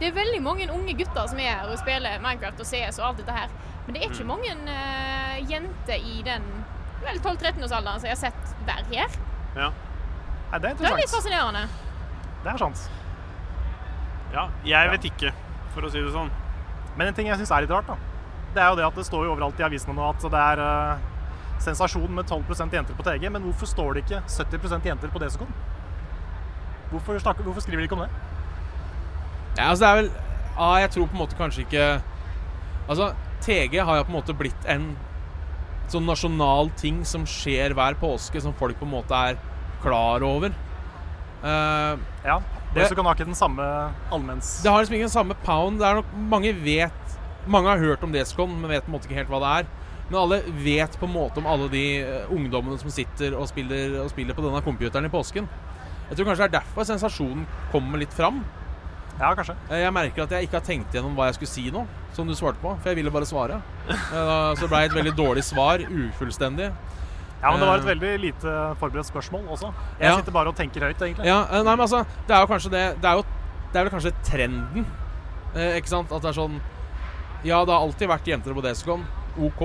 [SPEAKER 2] Det er veldig mange unge gutter som er her og spiller Minecraft og CS og alt dette her, men det er ikke mange eh, jenter i den vel 12-13-årsalderen som jeg har sett være her.
[SPEAKER 4] Ja.
[SPEAKER 1] Nei, det er
[SPEAKER 2] Det er litt
[SPEAKER 1] interessant.
[SPEAKER 2] fascinerende.
[SPEAKER 1] Det er sant.
[SPEAKER 4] Ja, jeg vet ikke, for å si det sånn.
[SPEAKER 1] Men en ting jeg syns er litt rart, da. Det er jo det at det står jo overalt i avisene nå at det er eh, sensasjon med 12 jenter på TG. Men hvorfor står det ikke 70 jenter på Desicon? Hvorfor, snakker, hvorfor skriver de ikke om det?
[SPEAKER 3] Ja, altså, det er vel ah, Jeg tror på en måte kanskje ikke Altså, TG har jo på en måte blitt en sånn nasjonal ting som skjer hver påske, som folk på en måte er klar over. Eh,
[SPEAKER 1] Ja, Desicon har ikke den samme allmenns...
[SPEAKER 3] Det har liksom ikke den samme pound. Det er nok Mange vet Mange har hørt om Descon, men vet på en måte ikke helt hva det er. Men alle vet på en måte om alle de eh, ungdommene som sitter og spiller, og spiller på denne computeren i påsken. Jeg tror kanskje det er derfor sensasjonen kommer litt fram.
[SPEAKER 1] Ja, kanskje.
[SPEAKER 3] Eh, Jeg merker at jeg ikke har tenkt gjennom hva jeg skulle si nå, som du svarte på. For jeg ville bare svare. Eh, da- Så det ble et veldig dårlig svar. Ufullstendig.
[SPEAKER 1] Ja, men det var
[SPEAKER 3] Eh.
[SPEAKER 1] et veldig lite forberedt spørsmål også. Jeg
[SPEAKER 3] Ja.
[SPEAKER 1] sitter bare og tenker høyt, egentlig.
[SPEAKER 3] Ja, eh, nei, men altså Det er jo kanskje det Det er jo Det er vel kanskje trenden eh, Ikke sant? At det er sånn Ja, det har alltid vært jenter på Desicon OK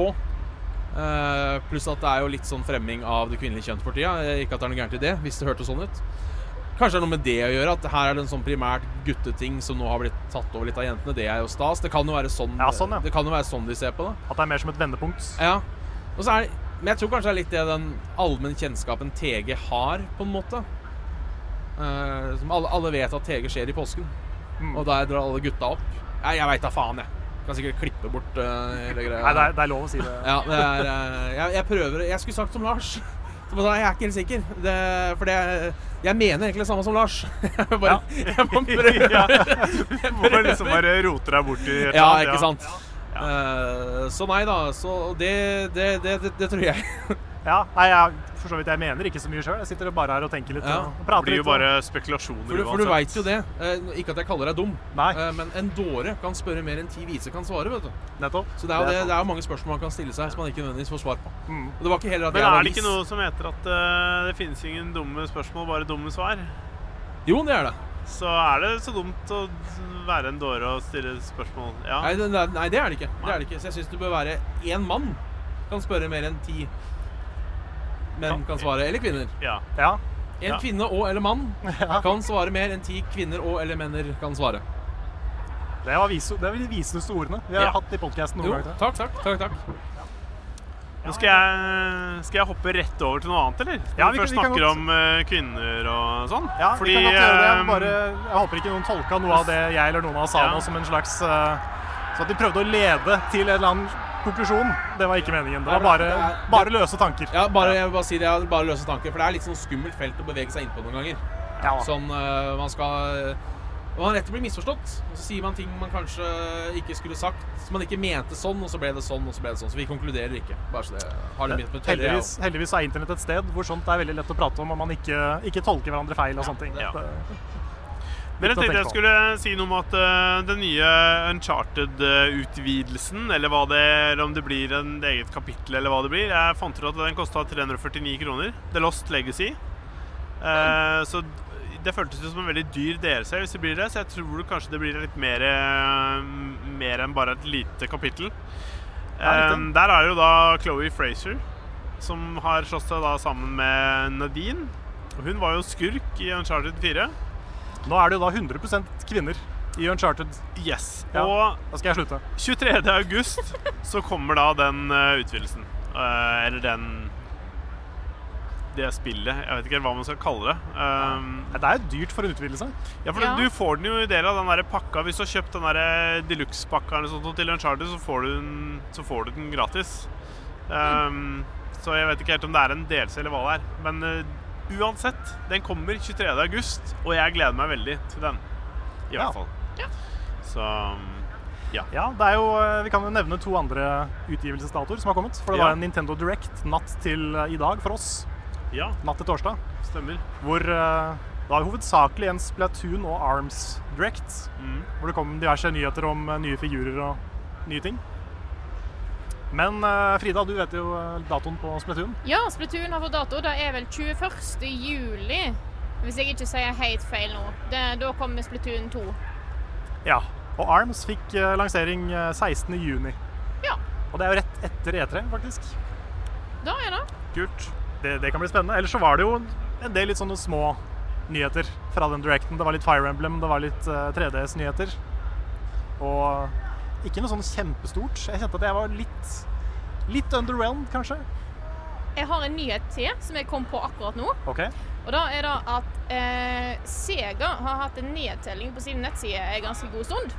[SPEAKER 3] eh, Pluss at det er jo litt sånn fremming av det kvinnelige kjønn for tida Eh, Ikke at det er noe gærent i det Hvis det hørte sånn ut Kanskje det er noe med det å gjøre At her er det en sånn primært gutteting Som nå har blitt tatt over litt av jentene Det er jo stas Det kan jo være sånn,
[SPEAKER 1] Ja, sånn, ja.
[SPEAKER 3] Det kan jo være sånn de ser på det
[SPEAKER 1] At det er mer som et vendepunkt.
[SPEAKER 3] ja. Og så er det Men jeg tror kanskje det er litt det den allmenn kjennskapen TG har, på en måte. Eh, som alle, alle vet at TG skjer i påsken.
[SPEAKER 1] Mm.
[SPEAKER 3] Og der drar alle gutta opp. Nei, jeg veit da faen, jeg. Kan sikkert klippe bort eh, hele greia.
[SPEAKER 1] Nei, det er, det er lov å si
[SPEAKER 3] [laughs]
[SPEAKER 1] det.
[SPEAKER 3] Ja, det er eh, jeg, jeg prøver Jeg skulle sagt som Lars. [laughs] Så bare, jeg er ikke helt sikker. Det, for det, jeg mener egentlig det samme som Lars. [laughs] Jeg bare, jeg må prøve.
[SPEAKER 1] [laughs]
[SPEAKER 4] Ja. Hvorfor liksom bare roter deg bort i et
[SPEAKER 3] Ja,
[SPEAKER 4] eller annet,
[SPEAKER 3] ikke sant? Eh, så nei da. Så det, det, det, det, det tror jeg.
[SPEAKER 1] Ja, nei, jeg, for så vidt jeg mener ikke så mye sjøl. Jeg sitter bare her og tenker litt
[SPEAKER 3] Ja.
[SPEAKER 1] og
[SPEAKER 4] Det
[SPEAKER 1] prater
[SPEAKER 4] blir
[SPEAKER 1] litt.
[SPEAKER 4] jo bare
[SPEAKER 1] og-
[SPEAKER 4] spekulasjoner
[SPEAKER 3] For du, for du veit jo det. Eh, ikke at jeg kaller deg dum,
[SPEAKER 1] Nei.
[SPEAKER 3] eh, men en dåre kan spørre mer enn ti vise kan svare. vet du
[SPEAKER 1] Nettopp.
[SPEAKER 3] Så det er jo det,
[SPEAKER 1] sant.
[SPEAKER 3] det er jo mange spørsmål man kan stille seg som man ikke nødvendigvis får svar på.
[SPEAKER 1] Mm.
[SPEAKER 3] Og det var ikke heller at
[SPEAKER 4] Men
[SPEAKER 3] jeg var
[SPEAKER 4] er det ikke
[SPEAKER 3] vis.
[SPEAKER 4] noe som heter at eh, det finnes ingen dumme spørsmål, bare dumme svar?
[SPEAKER 3] Jo, det er det.
[SPEAKER 4] Så er det så dumt å være en dåre og stille spørsmål. Ja.
[SPEAKER 3] Nei, det, nei, nei, det er det ikke. Det er det ikke. Så jeg syns det bør være én mann kan spørre mer enn ti menn kan svare. Eller kvinner.
[SPEAKER 4] ja.
[SPEAKER 1] Ja.
[SPEAKER 3] En
[SPEAKER 4] Ja.
[SPEAKER 3] kvinne og eller mann kan svare mer enn ti kvinner og eller menner kan svare.
[SPEAKER 1] Det var viso, det er de viseste ordene vi har
[SPEAKER 3] Ja.
[SPEAKER 1] hatt i podkasten noen
[SPEAKER 3] Jo,
[SPEAKER 1] gang.
[SPEAKER 3] takk, takk. takk, takk.
[SPEAKER 4] Nå skal jeg, skal jeg hoppe rett over til noe annet, eller? Når
[SPEAKER 1] Ja,
[SPEAKER 4] vi
[SPEAKER 1] vi kan-
[SPEAKER 4] først
[SPEAKER 1] vi kan
[SPEAKER 4] snakker
[SPEAKER 1] godt-
[SPEAKER 4] om eh, kvinner og sånn.
[SPEAKER 1] Ja, vi
[SPEAKER 4] Fordi,
[SPEAKER 1] kan godt gjøre det. Jeg,
[SPEAKER 4] eh,
[SPEAKER 1] bare, jeg håper ikke noen tolka noe av det jeg eller noen av oss sa
[SPEAKER 4] Ja.
[SPEAKER 1] nå som en slags eh, Så at de prøvde å lede til en eller annen konklusjon. Det var ikke meningen. Det var bare, bare løse tanker.
[SPEAKER 3] Ja, bare, jeg vil bare si det, jeg vil bare løse tanker, for det er litt sånn skummelt felt å bevege seg inn på noen ganger.
[SPEAKER 1] Ja.
[SPEAKER 3] Sånn, øh, man skal øh, Man er rett til å bli misforstått. Og så sier man ting man kanskje ikke skulle sagt, som man ikke mente sånn, og så ble det sånn, og så ble det sånn. Så vi konkluderer ikke. Bare så det har det begynt med teller, jeg
[SPEAKER 1] Heldigvis, heldigvis er internett et sted hvor sånt er veldig lett å prate om, og man ikke, ikke tolker hverandre feil og sånne ting. eh,
[SPEAKER 4] Ja.
[SPEAKER 1] Det-
[SPEAKER 4] Men jeg
[SPEAKER 1] Litt å
[SPEAKER 4] tenkte jeg
[SPEAKER 1] tenke
[SPEAKER 4] skulle si noe om at eh, den nye Uncharted-utvidelsen, eh, eller hva det eller om det blir en eget kapittel, eller hva det blir Jeg fant ut at den kosta 349 kroner. The Lost Legacy. Eh, så det føltes jo som en veldig dyr DLC hvis det blir det, så jeg tror kanskje det blir litt mer, eh, mer enn bare et lite kapittel.
[SPEAKER 1] Ja, litt,
[SPEAKER 4] Eh, der er det jo da Chloé Fraser, som har slått seg da sammen med Nadine. Og hun var jo skurk i Uncharted 4.
[SPEAKER 1] Nå er det jo da 100 kvinner i Uncharted.
[SPEAKER 4] Yes.
[SPEAKER 1] Ja.
[SPEAKER 4] Og
[SPEAKER 1] Da skal jeg slutte.
[SPEAKER 4] 23. august så kommer da den eh, utvidelsen. Eh, eller den det spillet. Jeg vet ikke helt hva man skal kalle det. Um,
[SPEAKER 1] Det er jo dyrt for en utvidelse.
[SPEAKER 4] ja, for
[SPEAKER 2] Ja.
[SPEAKER 4] Du får den jo i del av den der pakka. Hvis du har kjøpt den der eh, deluxe-pakka eller sånt til Uncharted, så får du den, så får du den gratis. Um, Så jeg vet ikke helt om det er en delelse eller hva det er. Men uh, uansett, den kommer 23.8, og jeg gleder meg veldig til den. I
[SPEAKER 1] Ja.
[SPEAKER 4] hvert fall.
[SPEAKER 2] Ja.
[SPEAKER 4] Så um,
[SPEAKER 1] Ja, det er jo, eh, Vi kan jo nevne to andre utgivelsesdatoer som har kommet. For det
[SPEAKER 4] Ja.
[SPEAKER 1] var en Nintendo Direct natt til eh, i dag for oss.
[SPEAKER 4] ja,
[SPEAKER 1] Natt til torsdag.
[SPEAKER 4] stemmer.
[SPEAKER 1] Hvor eh, det var hovedsakelig en Splatoon og Arms Direct.
[SPEAKER 4] Mm.
[SPEAKER 1] Hvor det kom diverse nyheter om eh, nye figurer og nye ting. Men eh, Frida, du vet jo eh, datoen på Splatoon.
[SPEAKER 2] Ja, Splatoon har fått dato. Det er vel 21. juli. Hvis jeg ikke sier helt feil nå. Det, da kommer Splatoon 2.
[SPEAKER 1] Ja. Og Arms fikk eh, lansering eh, 16. juni.
[SPEAKER 2] Ja,
[SPEAKER 1] Og det er jo rett etter E3, faktisk.
[SPEAKER 2] da er det.
[SPEAKER 1] Kult. Det, det kan bli spennende. Ellers så var det jo en del litt sånne små nyheter fra den directen. Det var litt Fire Emblem, det var litt 3DS-nyheter. Og ikke noe sånn kjempestort. Jeg kjente at jeg var litt, litt underwhelmed, kanskje.
[SPEAKER 2] Jeg har en nyhet til som jeg kom på akkurat nå.
[SPEAKER 1] Ok.
[SPEAKER 2] Og da er det at eh, Sega har hatt en nedtelling på sin nettside en ganske god stund.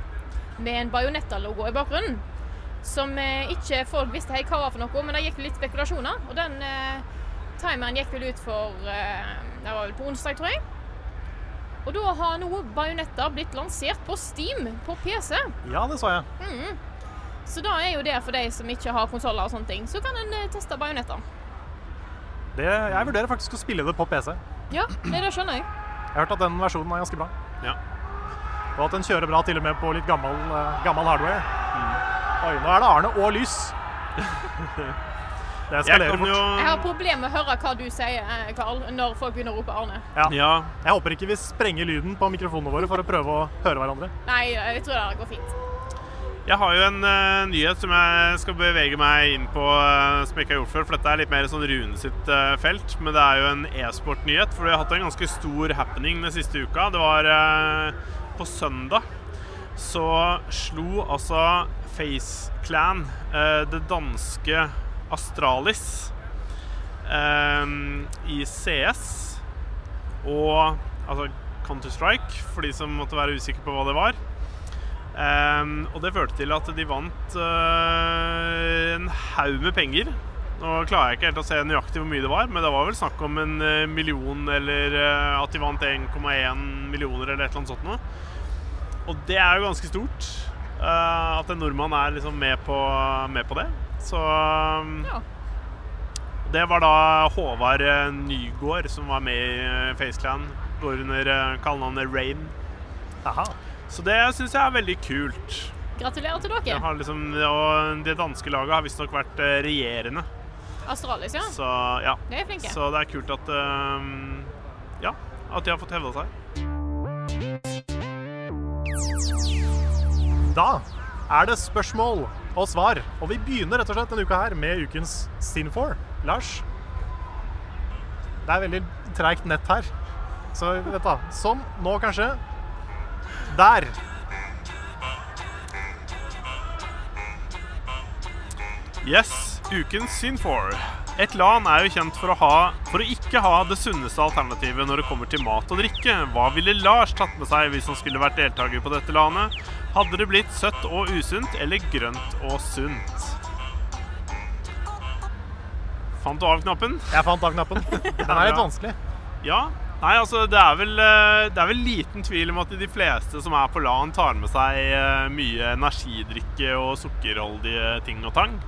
[SPEAKER 2] Med en Bajonetta-logo i bakgrunnen. Som eh, ikke folk visste helt hva var for noe, men det gikk litt spekulasjoner. Og den eh, timeren gikk vel ut for eh, Det var vel på onsdag, tror jeg. Og da har nå Bajonetta blitt lansert på Steam på PC.
[SPEAKER 1] Ja, det så jeg.
[SPEAKER 2] Så da er jo det for de som ikke har konsoller og sånne ting. Så kan en eh, teste Bajonetta.
[SPEAKER 1] Det, jeg vurderer faktisk å spille det på PC. Jeg
[SPEAKER 2] Ja, nei, det skjønner jeg.
[SPEAKER 1] har hørt at den versjonen er ganske bra.
[SPEAKER 4] Ja.
[SPEAKER 1] Og at den kjører bra til og med på litt gammel, eh, gammel hardware.
[SPEAKER 4] Mm.
[SPEAKER 1] Oi, nå er det Arne og lys.
[SPEAKER 4] [laughs]
[SPEAKER 1] Det
[SPEAKER 4] Jeg
[SPEAKER 1] eskalerer
[SPEAKER 4] kan
[SPEAKER 1] fort.
[SPEAKER 4] jo
[SPEAKER 2] Jeg har problemer med å høre hva du sier, eh, Karl, når folk begynner å rope Arne.
[SPEAKER 4] Ja.
[SPEAKER 1] Jeg håper ikke vi sprenger lyden på mikrofonene våre for å prøve å høre hverandre.
[SPEAKER 2] Nei, jeg tror det går fint.
[SPEAKER 4] Jeg har jo en eh, nyhet som jeg skal bevege meg inn på, eh, som jeg ikke har gjort før. For dette er litt mer sånn Rune sitt eh, felt, men det er jo en e-sport-nyhet. For vi har hatt en ganske stor happening den siste uka. Det var eh, på søndag så slo altså Face Clan eh, det danske Astralis eh, i CS og altså Counter-Strike, for de som måtte være usikre på hva det var. Ehm, og det førte til at de vant eh, en haug med penger. Nå klarer jeg ikke helt å se nøyaktig hvor mye det var, men det var vel snakk om en eh, million, eller eh, at de vant 1,1 millioner, eller et eller annet sånt noe. Og det er jo ganske stort. eh, at en nordmann er liksom med på, med på det. Så um,
[SPEAKER 2] Ja.
[SPEAKER 4] Det var da Håvard eh, Nygård som var med i eh, FaceClan. Går under eh, kallenavnet Rain.
[SPEAKER 1] Aha.
[SPEAKER 4] Så det syns jeg er veldig kult.
[SPEAKER 2] Gratulerer til
[SPEAKER 4] Det,
[SPEAKER 2] dere.
[SPEAKER 4] har liksom, og det danske laget har visstnok vært eh, regjerende.
[SPEAKER 2] Astralis, ja.
[SPEAKER 4] Så ja.
[SPEAKER 2] De er flinke.
[SPEAKER 4] Så det er kult at ehm, Ja, at de har fått hevda seg.
[SPEAKER 1] Da er det spørsmål og svar, og vi begynner rett og slett denne uka her med ukens Sin4. Lars? Det er veldig treigt nett her, så vet da. Sånn. Nå kanskje. Der.
[SPEAKER 4] Yes, ukens Sin4. Et LAN er jo kjent for å, ha, for å ikke ha det sunneste alternativet når det kommer til mat og drikke. Hva ville Lars tatt med seg hvis han skulle vært deltaker på dette LAN-et? Hadde det blitt søtt og usunt, eller grønt og sunt? Fant du av knappen?
[SPEAKER 1] Jeg fant av knappen. Den er litt vanskelig.
[SPEAKER 4] Ja. Nei, altså, det er, vel, eh, det er vel liten tvil om at de fleste som er på LAN, tar med seg eh, mye energidrikke og sukkerholdige ting og tang.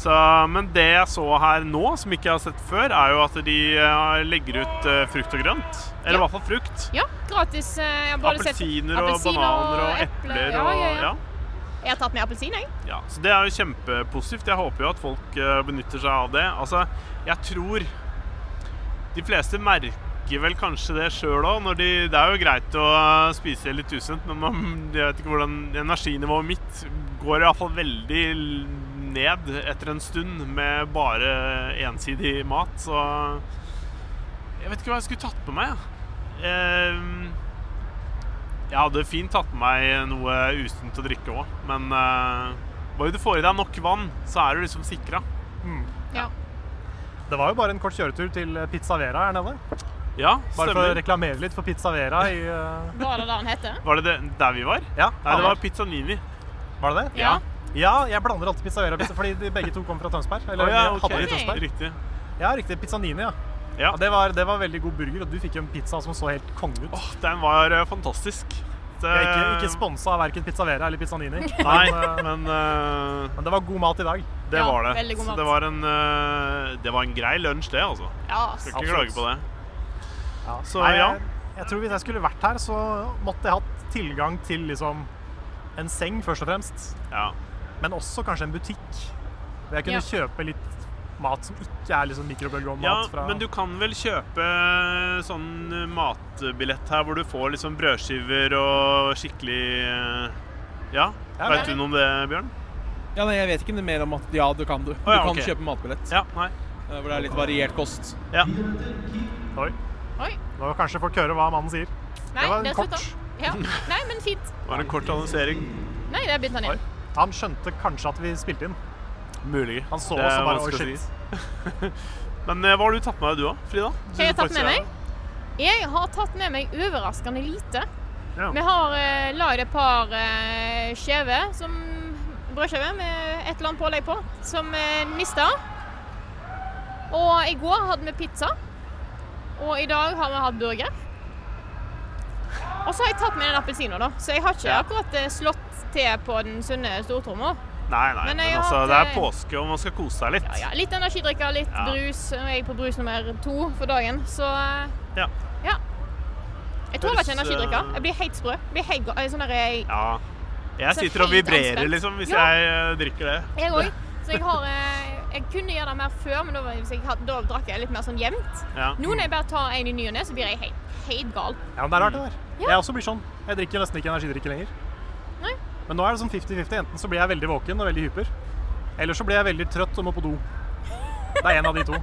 [SPEAKER 4] Så, men det jeg så her nå, som ikke jeg har sett før, er jo at de eh, legger ut eh, frukt og grønt. Eller
[SPEAKER 2] Ja.
[SPEAKER 4] i hvert fall frukt.
[SPEAKER 2] Ja, gratis. eh, Jeg har både sett
[SPEAKER 4] Appelsiner og
[SPEAKER 2] appelsiner
[SPEAKER 4] bananer og epler
[SPEAKER 2] Ja, ja,
[SPEAKER 4] og
[SPEAKER 2] ja.
[SPEAKER 4] ja.
[SPEAKER 2] Jeg har tatt med appelsin, jeg.
[SPEAKER 4] Ja, så Det er jo kjempepositivt. Jeg håper jo at folk eh, benytter seg av det. Altså, jeg tror de fleste merker vel kanskje det sjøl òg. De, det er jo greit å eh, spise litt usunt, men man, jeg vet ikke hvordan energinivået mitt går iallfall veldig l- ned etter en stund med bare ensidig mat. Så jeg vet ikke hva jeg skulle tatt på meg. jeg. Eh, jeg hadde fint tatt med meg noe usunt å drikke òg, men eh, bare du får i deg nok vann, så er du liksom sikra.
[SPEAKER 2] Ja.
[SPEAKER 1] Det var jo bare en kort kjøretur til Pizza Vera her nede.
[SPEAKER 4] Ja,
[SPEAKER 1] Bare for å
[SPEAKER 4] stemmer.
[SPEAKER 1] reklamere litt for Pizza Vera i eh,
[SPEAKER 2] Var det det han heter?
[SPEAKER 4] Var det det- der vi var?
[SPEAKER 1] Ja,
[SPEAKER 4] Nei, det
[SPEAKER 1] Hamar.
[SPEAKER 4] var Pizzanini.
[SPEAKER 1] Var det det?
[SPEAKER 2] Ja.
[SPEAKER 1] Ja, jeg blander alltid Pizza Vera og pizza, fordi de begge to kommer fra Tønsberg.
[SPEAKER 4] Å
[SPEAKER 1] Eller
[SPEAKER 4] ja,
[SPEAKER 1] de
[SPEAKER 4] ok.
[SPEAKER 1] hadde i Tønsberg.
[SPEAKER 4] Riktig.
[SPEAKER 1] Ja, riktig. Pizzanini, ja. Ja,
[SPEAKER 4] Ja.
[SPEAKER 1] det, var, det var veldig god burger, og du fikk jo en pizza som så helt konge ut.
[SPEAKER 4] Åh, den var eh, fantastisk. Det-
[SPEAKER 1] Jeg er ikke, ikke sponsa av verken Pizza Vera eller Pizzanini,
[SPEAKER 4] Nei, [laughs]
[SPEAKER 1] men, eh,
[SPEAKER 4] men eh,
[SPEAKER 1] men det var god mat i dag.
[SPEAKER 4] det
[SPEAKER 2] Ja,
[SPEAKER 4] var det.
[SPEAKER 2] veldig god
[SPEAKER 4] Så
[SPEAKER 2] mat.
[SPEAKER 4] det var en, eh, det var en grei lunsj, det, altså.
[SPEAKER 2] Ja. ass.
[SPEAKER 4] Skal ikke klage på det. Så
[SPEAKER 1] Nei,
[SPEAKER 4] ja.
[SPEAKER 1] jeg, jeg tror hvis jeg skulle vært her, så måtte jeg hatt tilgang til liksom en seng, først og fremst.
[SPEAKER 4] ja.
[SPEAKER 1] Men også kanskje en butikk. Hvor jeg kunne kjøpe litt mat som ikke er liksom mikrobølgeovnmat.
[SPEAKER 4] Ja,
[SPEAKER 1] fra...
[SPEAKER 4] men du kan vel kjøpe sånn matbillett her hvor du får liksom brødskiver og skikkelig eh, Ja,
[SPEAKER 1] Ja,
[SPEAKER 4] veit
[SPEAKER 1] men-
[SPEAKER 4] du noe om det, Bjørn?
[SPEAKER 3] Ja, nei, jeg vet ikke mer om at Ja, det kan du. Du
[SPEAKER 4] ja,
[SPEAKER 3] kan
[SPEAKER 4] ok.
[SPEAKER 3] kjøpe matbillett.
[SPEAKER 4] Ja, nei.
[SPEAKER 3] eh, Hvor det er litt variert kost.
[SPEAKER 4] Ja.
[SPEAKER 1] Oi,
[SPEAKER 2] Oi.
[SPEAKER 1] nå har kanskje folk høre hva mannen sier. Det
[SPEAKER 2] Nei,
[SPEAKER 1] var en
[SPEAKER 2] det
[SPEAKER 1] kort.
[SPEAKER 2] slutta. Ja. Nei, men fint.
[SPEAKER 4] Det var en kort annonsering.
[SPEAKER 2] Nei, det er begynt
[SPEAKER 1] Oi.
[SPEAKER 2] han igjen.
[SPEAKER 1] Han skjønte kanskje at vi spilte inn.
[SPEAKER 4] Mulig.
[SPEAKER 1] Han så
[SPEAKER 4] Det er
[SPEAKER 1] også bare Oi,
[SPEAKER 4] vanskelig
[SPEAKER 1] shit.
[SPEAKER 4] å si. Men eh, hva har du tatt med deg, du òg, Frida?
[SPEAKER 2] Hva har jeg tatt
[SPEAKER 4] faktisk
[SPEAKER 2] med
[SPEAKER 4] er-
[SPEAKER 2] meg? Jeg har tatt med meg overraskende lite.
[SPEAKER 4] Ja.
[SPEAKER 2] Vi har eh, lagd et par eh, skjeve som brødskiver med et eller annet pålegg på, som eh, nista. Og i går hadde vi pizza. Og i dag har vi hatt burger. Og så har jeg tatt med den appelsinen, da. Så jeg har ikke
[SPEAKER 4] Ja.
[SPEAKER 2] akkurat eh, slått til på den sunne stortromma.
[SPEAKER 4] Nei, nei,
[SPEAKER 2] Men
[SPEAKER 4] men,
[SPEAKER 2] jeg har
[SPEAKER 4] altså,
[SPEAKER 2] hatt,
[SPEAKER 4] det er
[SPEAKER 2] eh,
[SPEAKER 4] påske, og man skal kose seg litt.
[SPEAKER 2] Ja, ja. Litt energidrikker, litt
[SPEAKER 4] Ja.
[SPEAKER 2] brus. Nå er jeg på brus nummer to for dagen, så eh,
[SPEAKER 4] Ja.
[SPEAKER 2] ja. Jeg tåler ikke
[SPEAKER 4] Høres,
[SPEAKER 2] energidrikker.
[SPEAKER 4] eh,
[SPEAKER 2] Jeg blir helt sprø. Jeg Blir helt, ga- sånn der, jeg
[SPEAKER 4] Ja. Jeg
[SPEAKER 2] Så
[SPEAKER 4] sitter og
[SPEAKER 2] fint
[SPEAKER 4] vibrerer,
[SPEAKER 2] anspent.
[SPEAKER 4] liksom, hvis
[SPEAKER 2] Ja.
[SPEAKER 4] jeg eh, drikker det.
[SPEAKER 2] Jeg òg. Så jeg har eh, Jeg kunne gjøre det mer før, men da, var- hvis jeg, hadde- da drakk jeg litt mer sånn jevnt.
[SPEAKER 4] Ja.
[SPEAKER 2] Nå når jeg bare tar en i ny og ne, så blir jeg helt, helt gal.
[SPEAKER 1] Ja, men det er rart, det der. Jeg også blir sånn. Jeg drikker nesten ikke energidrikke lenger.
[SPEAKER 2] Nei.
[SPEAKER 1] Men nå er det sånn 50-50. Enten så blir jeg veldig våken og veldig hyper, eller så blir jeg veldig trøtt og må på do. Det er en av de to.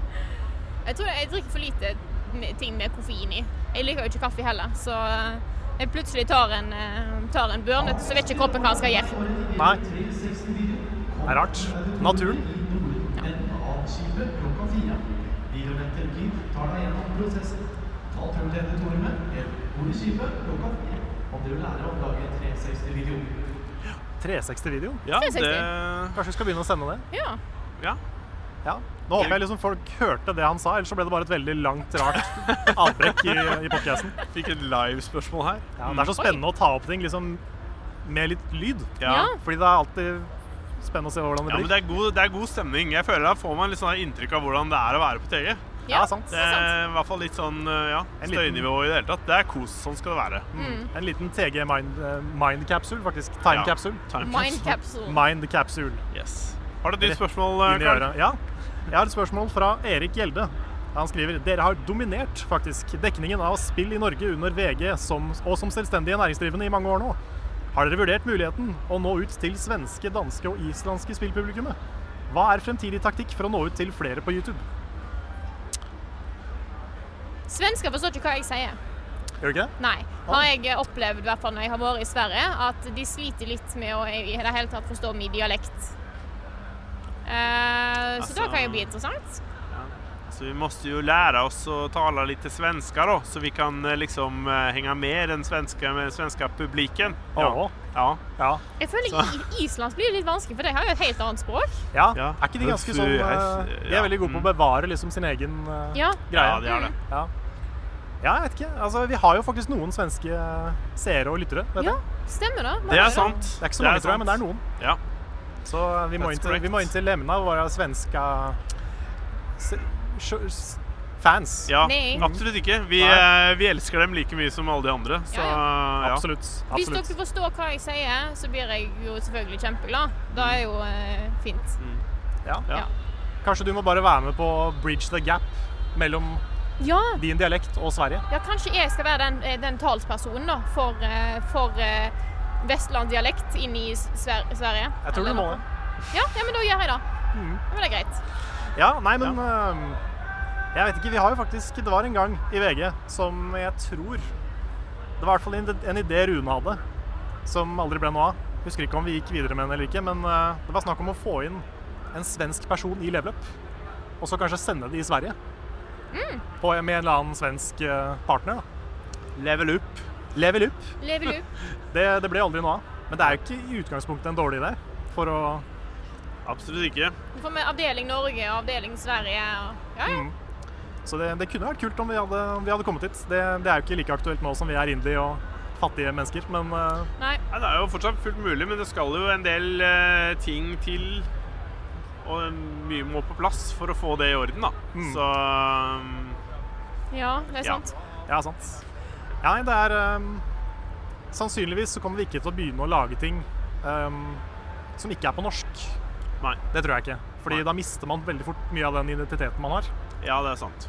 [SPEAKER 2] Jeg tror jeg drikker for lite med- ting med koffein i. Jeg liker jo ikke kaffe heller, så eh, jeg plutselig tar en, eh, tar en børn, vet du, så vet ikke kroppen hva den skal gjøre.
[SPEAKER 1] Nei. Det er rart. Naturen. Ja. 360-videoen?
[SPEAKER 4] Ja,
[SPEAKER 2] 360.
[SPEAKER 4] det
[SPEAKER 1] Kanskje vi skal begynne å sende det?
[SPEAKER 2] Ja.
[SPEAKER 4] Ja.
[SPEAKER 1] Ja. Nå håper jeg liksom folk hørte det han sa, ellers så ble det bare et veldig langt,
[SPEAKER 4] [laughs]
[SPEAKER 1] rart avbrekk i, i podcasten.
[SPEAKER 4] Fikk et live-spørsmål her.
[SPEAKER 1] Ja, det er så spennende å ta opp ting liksom, med litt lyd.
[SPEAKER 4] Ja.
[SPEAKER 2] Ja.
[SPEAKER 1] Fordi det er alltid spennende å se hvordan det
[SPEAKER 4] Ja, men
[SPEAKER 1] blir.
[SPEAKER 4] det er, god, det er god stemning. Jeg føler Da får man litt sånn her inntrykk av hvordan det er å være på TG.
[SPEAKER 2] Ja,
[SPEAKER 1] sant.
[SPEAKER 4] Det er i hvert fall litt sånn eh, ja,
[SPEAKER 1] En liten- Mm.
[SPEAKER 4] støynivå i det hele tatt. Det er kos. Sånn skal det være.
[SPEAKER 1] En liten TG mind, eh, mind capsule, faktisk. Time
[SPEAKER 4] Ja.
[SPEAKER 1] capsule.
[SPEAKER 4] Time
[SPEAKER 2] Mind
[SPEAKER 4] capsule.
[SPEAKER 2] capsule.
[SPEAKER 1] Mind capsule.
[SPEAKER 4] Yes. Har du et nytt spørsmål, eh,
[SPEAKER 1] Inn i
[SPEAKER 4] Karl?
[SPEAKER 1] øret. Ja. Jeg har et spørsmål fra Erik Gjelde. Han skriver dere har dominert faktisk dekningen av spill i Norge under VG som, og som selvstendige næringsdrivende i mange år nå. Har dere vurdert muligheten å nå ut til svenske, danske og islandske spillpublikummet? Hva er fremtidig taktikk for å nå ut til flere på YouTube?
[SPEAKER 2] Svensker forstår ikke hva jeg sier.
[SPEAKER 1] Gjør du ikke det?
[SPEAKER 2] Nei. Har jeg opplevd, i hvert fall når jeg har vært i Sverige, at de sliter litt med å i det hele tatt forstå min dialekt. Eh, så da
[SPEAKER 4] Altså-
[SPEAKER 2] kan jo bli interessant.
[SPEAKER 4] Så vi måste ju lära oss att tala lite svenska då, så vi kan eh, liksom eh, hänga med den svenska, med den svenska publiken.
[SPEAKER 1] Ja.
[SPEAKER 4] Ja.
[SPEAKER 1] Ja.
[SPEAKER 2] Jeg føler i- Islands blir litt vanskelig, for de har jo et helt annet språk.
[SPEAKER 1] ja.
[SPEAKER 4] Ja.
[SPEAKER 1] Er ikke de ganske
[SPEAKER 4] Fy,
[SPEAKER 1] sånn
[SPEAKER 4] jeg-
[SPEAKER 1] eh, De
[SPEAKER 4] ja. Mm.
[SPEAKER 1] er veldig gode på å bevare liksom sin egen eh,
[SPEAKER 2] Ja.
[SPEAKER 1] greie.
[SPEAKER 4] Ja, det er det.
[SPEAKER 1] Ja. ja, jeg vet ikke. Altså, vi har jo faktisk noen svenske seere og lyttere. Vet jeg.
[SPEAKER 2] ja stemmer det. Hva
[SPEAKER 4] Det
[SPEAKER 2] har
[SPEAKER 4] är
[SPEAKER 2] du?
[SPEAKER 4] sant.
[SPEAKER 1] Det er ikke så mange, tror jeg, men det er noen.
[SPEAKER 4] Ja.
[SPEAKER 1] Så eh, vi må,
[SPEAKER 4] That's
[SPEAKER 1] inn til, vi
[SPEAKER 4] correct.
[SPEAKER 1] må inn til Lemna og være svenska se- sj- s- fans.
[SPEAKER 4] Ja,
[SPEAKER 2] Nei.
[SPEAKER 4] absolutt ikke. Vi,
[SPEAKER 1] Nei.
[SPEAKER 4] eh, vi elsker dem like mye som alle de andre, så
[SPEAKER 2] Ja,
[SPEAKER 4] ja.
[SPEAKER 1] Absolutt.
[SPEAKER 2] Hvis
[SPEAKER 1] absolutt.
[SPEAKER 2] dere forstår hva jeg sier, så blir jeg jo selvfølgelig kjempeglad. Da er jo eh, fint.
[SPEAKER 4] Mm.
[SPEAKER 1] Ja.
[SPEAKER 4] Ja.
[SPEAKER 1] Kanskje du må bare være med på å bridge the gap mellom
[SPEAKER 2] Ja,
[SPEAKER 1] din dialekt og Sverige.
[SPEAKER 2] ja kanskje jeg skal være den, eh, den talspersonen da, for, eh, for eh, vestlandsdialekt inn i Sver Sverige.
[SPEAKER 1] Jeg tror
[SPEAKER 2] Eller
[SPEAKER 1] du må
[SPEAKER 2] noe.
[SPEAKER 1] det. Mm.
[SPEAKER 2] Ja, ja, men da gjør jeg det. Ja, men det er greit.
[SPEAKER 1] Ja, nei, men øhm, Jeg vet ikke, vi har jo faktisk Det var en gang i VG som jeg tror Det var i hvert fall en, en idé Rune hadde, som aldri ble noe av. Husker ikke eh, om vi gikk videre med den eller ikke, men øh, det var snakk om å få inn en svensk person i leveløp. og så kanskje sende de i Sverige.
[SPEAKER 2] Mm.
[SPEAKER 1] På, med en eller annen svensk eh, partner. Da. Level up. Level up.
[SPEAKER 2] Level
[SPEAKER 1] [laughs]
[SPEAKER 2] up.
[SPEAKER 1] Det, det ble aldri noe av. Men det er jo ikke i utgangspunktet en dårlig idé. For å
[SPEAKER 4] Absolutt ikke.
[SPEAKER 2] Vi får med avdeling Norge og avdeling Sverige. Og, ja, ja.
[SPEAKER 1] Mm. Så det, det kunne vært kult om vi hadde, om vi hadde kommet hit. Det, det er jo ikke like aktuelt nå som vi er indie og fattige mennesker, men eh,
[SPEAKER 2] Nei.
[SPEAKER 4] Nei, det er jo fortsatt fullt mulig, men det skal jo en del eh, ting til. Og mye må på plass for å få det i orden, da.
[SPEAKER 1] Mm.
[SPEAKER 4] Så um,
[SPEAKER 2] ja, det er
[SPEAKER 4] Ja.
[SPEAKER 2] sant.
[SPEAKER 1] Ja, sant. Ja, nei, det er ehm, Sannsynligvis så kommer vi ikke til å begynne å lage ting ehm, som ikke er på norsk.
[SPEAKER 4] Nei.
[SPEAKER 1] Det tror jeg ikke. Fordi
[SPEAKER 4] Nei.
[SPEAKER 1] da mister man veldig fort mye av den identiteten man har.
[SPEAKER 4] Ja, det er sant.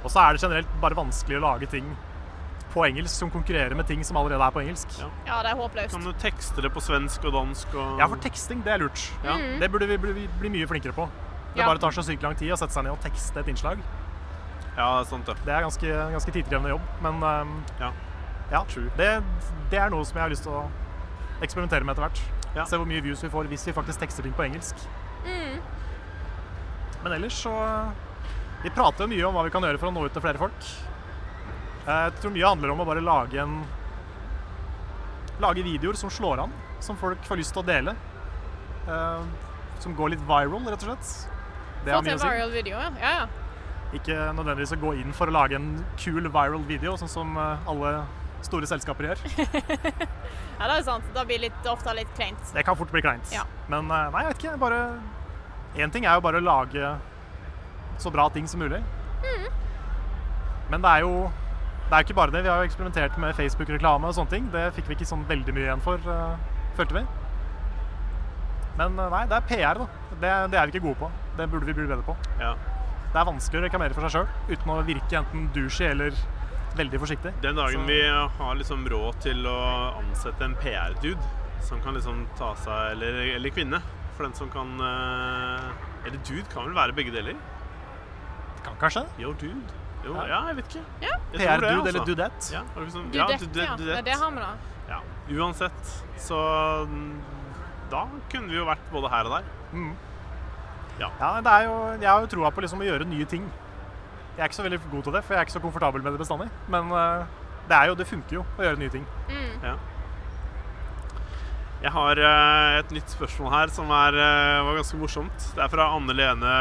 [SPEAKER 1] Og så er det generelt bare vanskelig å lage ting på engelsk som konkurrerer med ting som allerede er på engelsk. Ja,
[SPEAKER 2] Ja, det er håpløst.
[SPEAKER 4] Kan du tekste det på svensk og dansk og
[SPEAKER 1] for teksting, det er lurt.
[SPEAKER 4] Ja.
[SPEAKER 1] Det burde vi bli, bli mye flinkere på. Det
[SPEAKER 2] Ja.
[SPEAKER 1] bare tar så sykt lang tid å sette seg ned og tekste et innslag.
[SPEAKER 4] ja, det er sant, det.
[SPEAKER 1] Det er ganske, ganske tidkrevende jobb, men ehm,
[SPEAKER 4] Ja.
[SPEAKER 1] Ja,
[SPEAKER 4] True.
[SPEAKER 1] det, det er noe som jeg har lyst til å eksperimentere med etter hvert.
[SPEAKER 4] Ja.
[SPEAKER 1] Se hvor mye views vi får hvis vi faktisk tekster ting på engelsk.
[SPEAKER 2] Mm.
[SPEAKER 1] Men ellers så eh, Vi prater jo mye om hva vi kan gjøre for å nå ut til flere folk. Eh, Jeg tror mye handler om å bare lage en Lage videoer som slår an, som folk får lyst til å dele. Eh, Som går litt viral, rett og slett. Det har
[SPEAKER 2] Få til
[SPEAKER 1] mye
[SPEAKER 2] en
[SPEAKER 1] å si.
[SPEAKER 2] viral video, ja. ja. ja.
[SPEAKER 1] Ikke nødvendigvis å gå inn for å lage en kul viral video, sånn som eh, alle store selskaper gjør.
[SPEAKER 2] Ja, det er sant. Da blir litt, det ofte litt kleint.
[SPEAKER 1] Det kan fort bli kleint.
[SPEAKER 2] Ja.
[SPEAKER 1] Men eh, nei, jeg vet ikke. Bare Én ting er jo bare å lage så bra ting som mulig. Men det er jo det er jo ikke bare det. Vi har jo eksperimentert med Facebook-reklame og sånne ting. Det fikk vi ikke sånn veldig mye igjen for, eh, følte vi. Men eh, nei, det er PR, da. Det, det er vi ikke gode på. Det burde vi bli bedre på.
[SPEAKER 4] Ja.
[SPEAKER 1] Det er vanskelig å reklamere for seg sjøl uten å virke enten douchey eller veldig forsiktig.
[SPEAKER 4] Den dagen
[SPEAKER 1] Så-
[SPEAKER 4] vi har liksom råd til å ansette en PR-dude som kan liksom ta seg Eller, eller kvinne, for den som kan eh, Eller dude kan vel være begge deler?
[SPEAKER 1] Kan kanskje det?
[SPEAKER 4] Yo, dude. Jo,
[SPEAKER 1] Ja.
[SPEAKER 4] ja. jeg vet ikke.
[SPEAKER 2] Ja.
[SPEAKER 4] Jeg tror det,
[SPEAKER 1] PR-dude eller
[SPEAKER 4] altså.
[SPEAKER 1] dudette.
[SPEAKER 4] Ja, var det ikke sånn? Ja,
[SPEAKER 2] Dudett, ja.
[SPEAKER 4] dudett.
[SPEAKER 2] Det er det har vi, da.
[SPEAKER 4] Ja, uansett. Så mm, da kunne vi jo vært både her og der.
[SPEAKER 1] Ja, det er jo, jeg har jo troa på liksom å gjøre nye ting. Jeg er ikke så veldig god til det, for jeg er ikke så komfortabel med det bestandig. Men eh, det, er jo, det funker jo å gjøre nye ting.
[SPEAKER 4] Jeg har eh, et nytt spørsmål her som er, eh, var ganske morsomt. Det er fra Anne Lene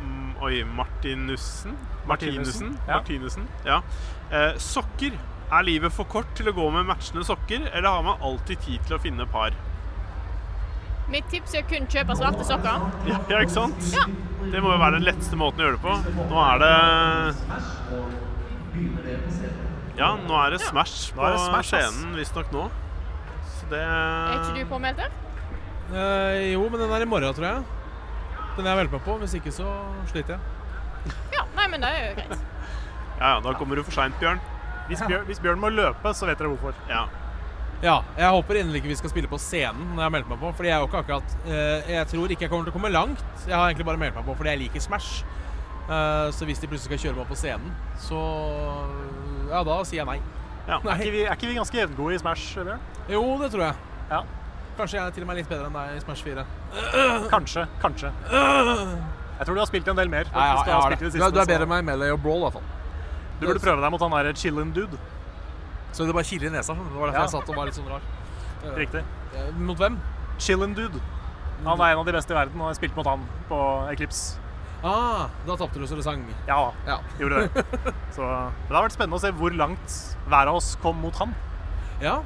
[SPEAKER 4] mm, Oi, Martinussen?
[SPEAKER 1] Martinussen,
[SPEAKER 4] Martinussen.
[SPEAKER 1] ja.
[SPEAKER 4] Martinussen, ja. Eh, sokker. Er livet for kort til å gå med matchende sokker, eller har man alltid tid til å finne par?
[SPEAKER 2] Mitt tips er å kun kjøpe svarte sokker.
[SPEAKER 4] Ja, ikke sant?
[SPEAKER 2] Ja.
[SPEAKER 4] Det må jo være den letteste måten å gjøre det på. Nå er det Ja, nå er det Smash
[SPEAKER 1] Nå er det
[SPEAKER 4] på
[SPEAKER 1] Smash, ass.
[SPEAKER 4] scenen, visstnok nå. Så det
[SPEAKER 2] Er ikke du påmeldt der?
[SPEAKER 3] Eh, jo, men den er i morgen, tror jeg. Den er jeg veldig med på. Hvis ikke, så sliter jeg.
[SPEAKER 2] Ja. Nei, men det er jo greit.
[SPEAKER 4] Ja, ja, da kommer du for seint, Bjørn.
[SPEAKER 1] Hvis Bjørn, hvis Bjørn må løpe, så vet dere hvorfor.
[SPEAKER 4] Ja.
[SPEAKER 3] Ja, jeg håper inderlig ikke vi skal spille på scenen når jeg har meldt meg på. Fordi jeg er jo ikke akkurat eh, Jeg tror ikke jeg kommer til å komme langt. Jeg har egentlig bare meldt meg på fordi jeg liker Smash. Eh, så hvis de plutselig skal kjøre meg på scenen, så Ja, da sier jeg nei.
[SPEAKER 4] Ja.
[SPEAKER 1] Er ikke vi, er ikke vi ganske jevngode i Smash, Bjørn?
[SPEAKER 3] Jo, det tror jeg.
[SPEAKER 1] Ja.
[SPEAKER 3] Kanskje jeg er til og med litt bedre enn deg i Smash 4.
[SPEAKER 1] Kanskje. Kanskje. Jeg tror du har spilt en del mer.
[SPEAKER 3] Ja, ja,
[SPEAKER 1] faktisk.
[SPEAKER 3] jeg
[SPEAKER 1] har
[SPEAKER 3] har
[SPEAKER 1] spilt i
[SPEAKER 3] det.
[SPEAKER 1] det
[SPEAKER 3] Du,
[SPEAKER 1] siste,
[SPEAKER 3] er- du er
[SPEAKER 1] så-
[SPEAKER 3] bedre enn meg i Melee og Brawl, i hvert fall.
[SPEAKER 1] Du burde prøve deg mot han der chillin' dude.
[SPEAKER 3] Så det bare kiler i nesa. Det var derfor
[SPEAKER 1] Ja.
[SPEAKER 3] jeg satt og var litt sånn rar.
[SPEAKER 1] Riktig.
[SPEAKER 3] [laughs] Eh, Mot hvem?
[SPEAKER 1] Chillin' dude. Han er en av de beste i verden, og jeg spilte mot han på Eclipse.
[SPEAKER 3] Ah, da tapte du så det sang.
[SPEAKER 1] Ja,
[SPEAKER 3] Ja.
[SPEAKER 1] gjorde det. Så men det har vært spennende å se hvor langt hver av oss kom mot han.
[SPEAKER 3] ja.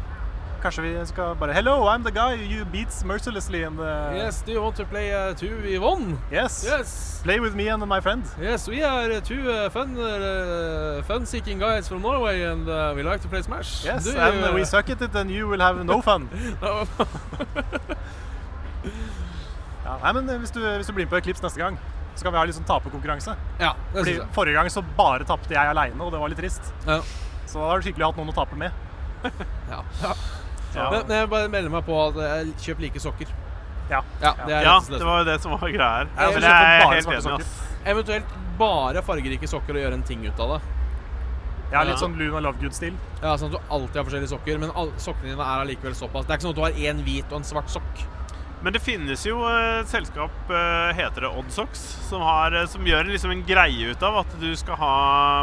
[SPEAKER 1] Kanskje vi skal bare Hello, I'm the guy you beats mercilessly in the
[SPEAKER 3] Yes, do you want to play uh, 2v1?
[SPEAKER 1] Yes.
[SPEAKER 3] Yes.
[SPEAKER 1] Play with me and my friend.
[SPEAKER 3] Yes, we are uh, two uh, fun, uh, fun-seeking guys from Norway, and uh, we like to play Smash.
[SPEAKER 1] Yes,
[SPEAKER 3] Do
[SPEAKER 1] and
[SPEAKER 3] you-
[SPEAKER 1] we suck at it and you will have no
[SPEAKER 3] [laughs]
[SPEAKER 1] fun.
[SPEAKER 3] No.
[SPEAKER 1] Ja, nei, men eh, hvis du, hvis du blir med på Eclipse neste gang, så kan vi ha litt sånn taperkonkurranse.
[SPEAKER 3] [laughs] ja, det
[SPEAKER 1] Fordi
[SPEAKER 3] synes jeg.
[SPEAKER 1] Forrige gang så bare tapte jeg aleine, og det var litt trist.
[SPEAKER 3] Ja.
[SPEAKER 1] Så da har du hyggelig hatt noen å tape med.
[SPEAKER 3] Ja. Ja.
[SPEAKER 1] Ja.
[SPEAKER 3] Men, men jeg bare melder meg på at jeg kjøper like sokker.
[SPEAKER 1] Ja.
[SPEAKER 3] Ja, det er
[SPEAKER 4] ja,
[SPEAKER 3] rett og
[SPEAKER 4] det
[SPEAKER 3] slett.
[SPEAKER 4] var jo det som var greia her.
[SPEAKER 1] Ja,
[SPEAKER 4] Men
[SPEAKER 1] så
[SPEAKER 4] jeg er
[SPEAKER 1] bare
[SPEAKER 4] helt
[SPEAKER 1] svarte
[SPEAKER 4] enig,
[SPEAKER 1] sokker.
[SPEAKER 4] ass.
[SPEAKER 3] Eventuelt bare fargerike sokker og gjøre en ting ut av det.
[SPEAKER 1] Ja, litt
[SPEAKER 4] Ja.
[SPEAKER 1] sånn Luna Lovegood-stil.
[SPEAKER 3] Ja, sånn at du alltid har forskjellige sokker, men all, sokkene dine er allikevel såpass. Det er ikke sånn at du har en hvit og en svart sokk.
[SPEAKER 4] Men det finnes jo eh, et selskap, eh, heter det Oddsox, som, har, eh, som gjør liksom en greie ut av at du skal ha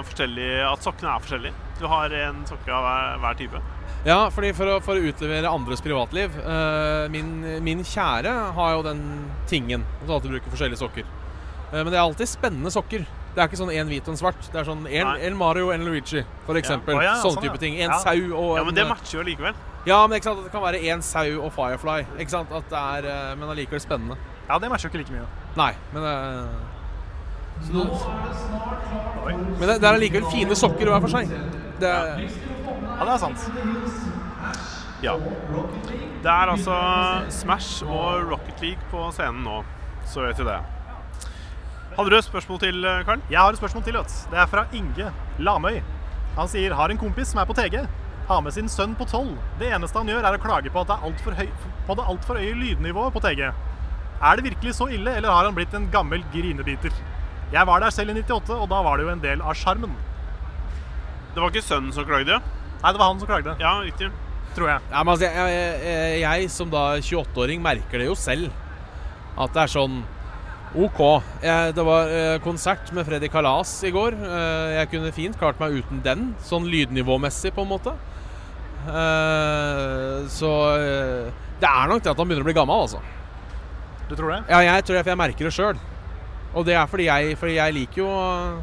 [SPEAKER 4] forskjellige At sokkene er forskjellige. Du har en sokke av hver, hver type.
[SPEAKER 3] Ja, fordi for å, for å utlevere andres privatliv eh, min, min kjære har jo den tingen at hun alltid bruker forskjellige sokker. Eh, men det er alltid spennende sokker. Det er ikke sånn én hvit og en svart. Det er sånn en,
[SPEAKER 4] Nei.
[SPEAKER 3] en Mario og en Luigi, for eksempel.
[SPEAKER 4] Å ja,
[SPEAKER 3] sånn,
[SPEAKER 4] sånn, ja.
[SPEAKER 3] type ting. En
[SPEAKER 4] Ja.
[SPEAKER 3] sau og
[SPEAKER 4] Ja, men
[SPEAKER 3] en eh,
[SPEAKER 4] det matcher jo likevel.
[SPEAKER 3] Ja, men ikke sant, at det kan være en sau og Firefly. Ikke sant, at det er, eh, Men allikevel spennende.
[SPEAKER 1] Ja, det matcher jo ikke like mye.
[SPEAKER 3] Nei, men eh, så du- Men det, det er allikevel fine sokker hver for seg. Det er,
[SPEAKER 1] Ja, det er sant.
[SPEAKER 4] Ja. Det er altså Smash og Rocket League på scenen nå, så vet du det. Hadde du et spørsmål til, eh, Karl?
[SPEAKER 1] Jeg har et spørsmål til. Vet. du. Det er fra Inge Lamøy. Han sier har en kompis som er på TG. Har med sin sønn på tolv. Det eneste han gjør, er å klage på at det er altfor høy, på det altfor høye lydnivået på TG. Er det virkelig så ille, eller har han blitt en gammel grinebiter? Jeg var der selv i 98, og da var det jo en del av sjarmen.
[SPEAKER 4] Det var ikke sønnen som klagde?
[SPEAKER 1] Nei, det var han som klagde,
[SPEAKER 4] Ja, riktig.
[SPEAKER 1] tror jeg.
[SPEAKER 3] Ja, men altså, jeg, jeg, jeg- jeg som da 28-åring merker det jo selv. At det er sånn OK. Jeg, det var eh, konsert med Freddy Kalas i går. Eh, jeg kunne fint klart meg uten den, sånn lydnivåmessig, på en måte. Eh, så eh, det er nok det at han begynner å bli gammel, altså.
[SPEAKER 1] Du tror det?
[SPEAKER 3] Ja, jeg tror det, for jeg merker det sjøl. Og det er fordi jeg, fordi jeg liker jo eh,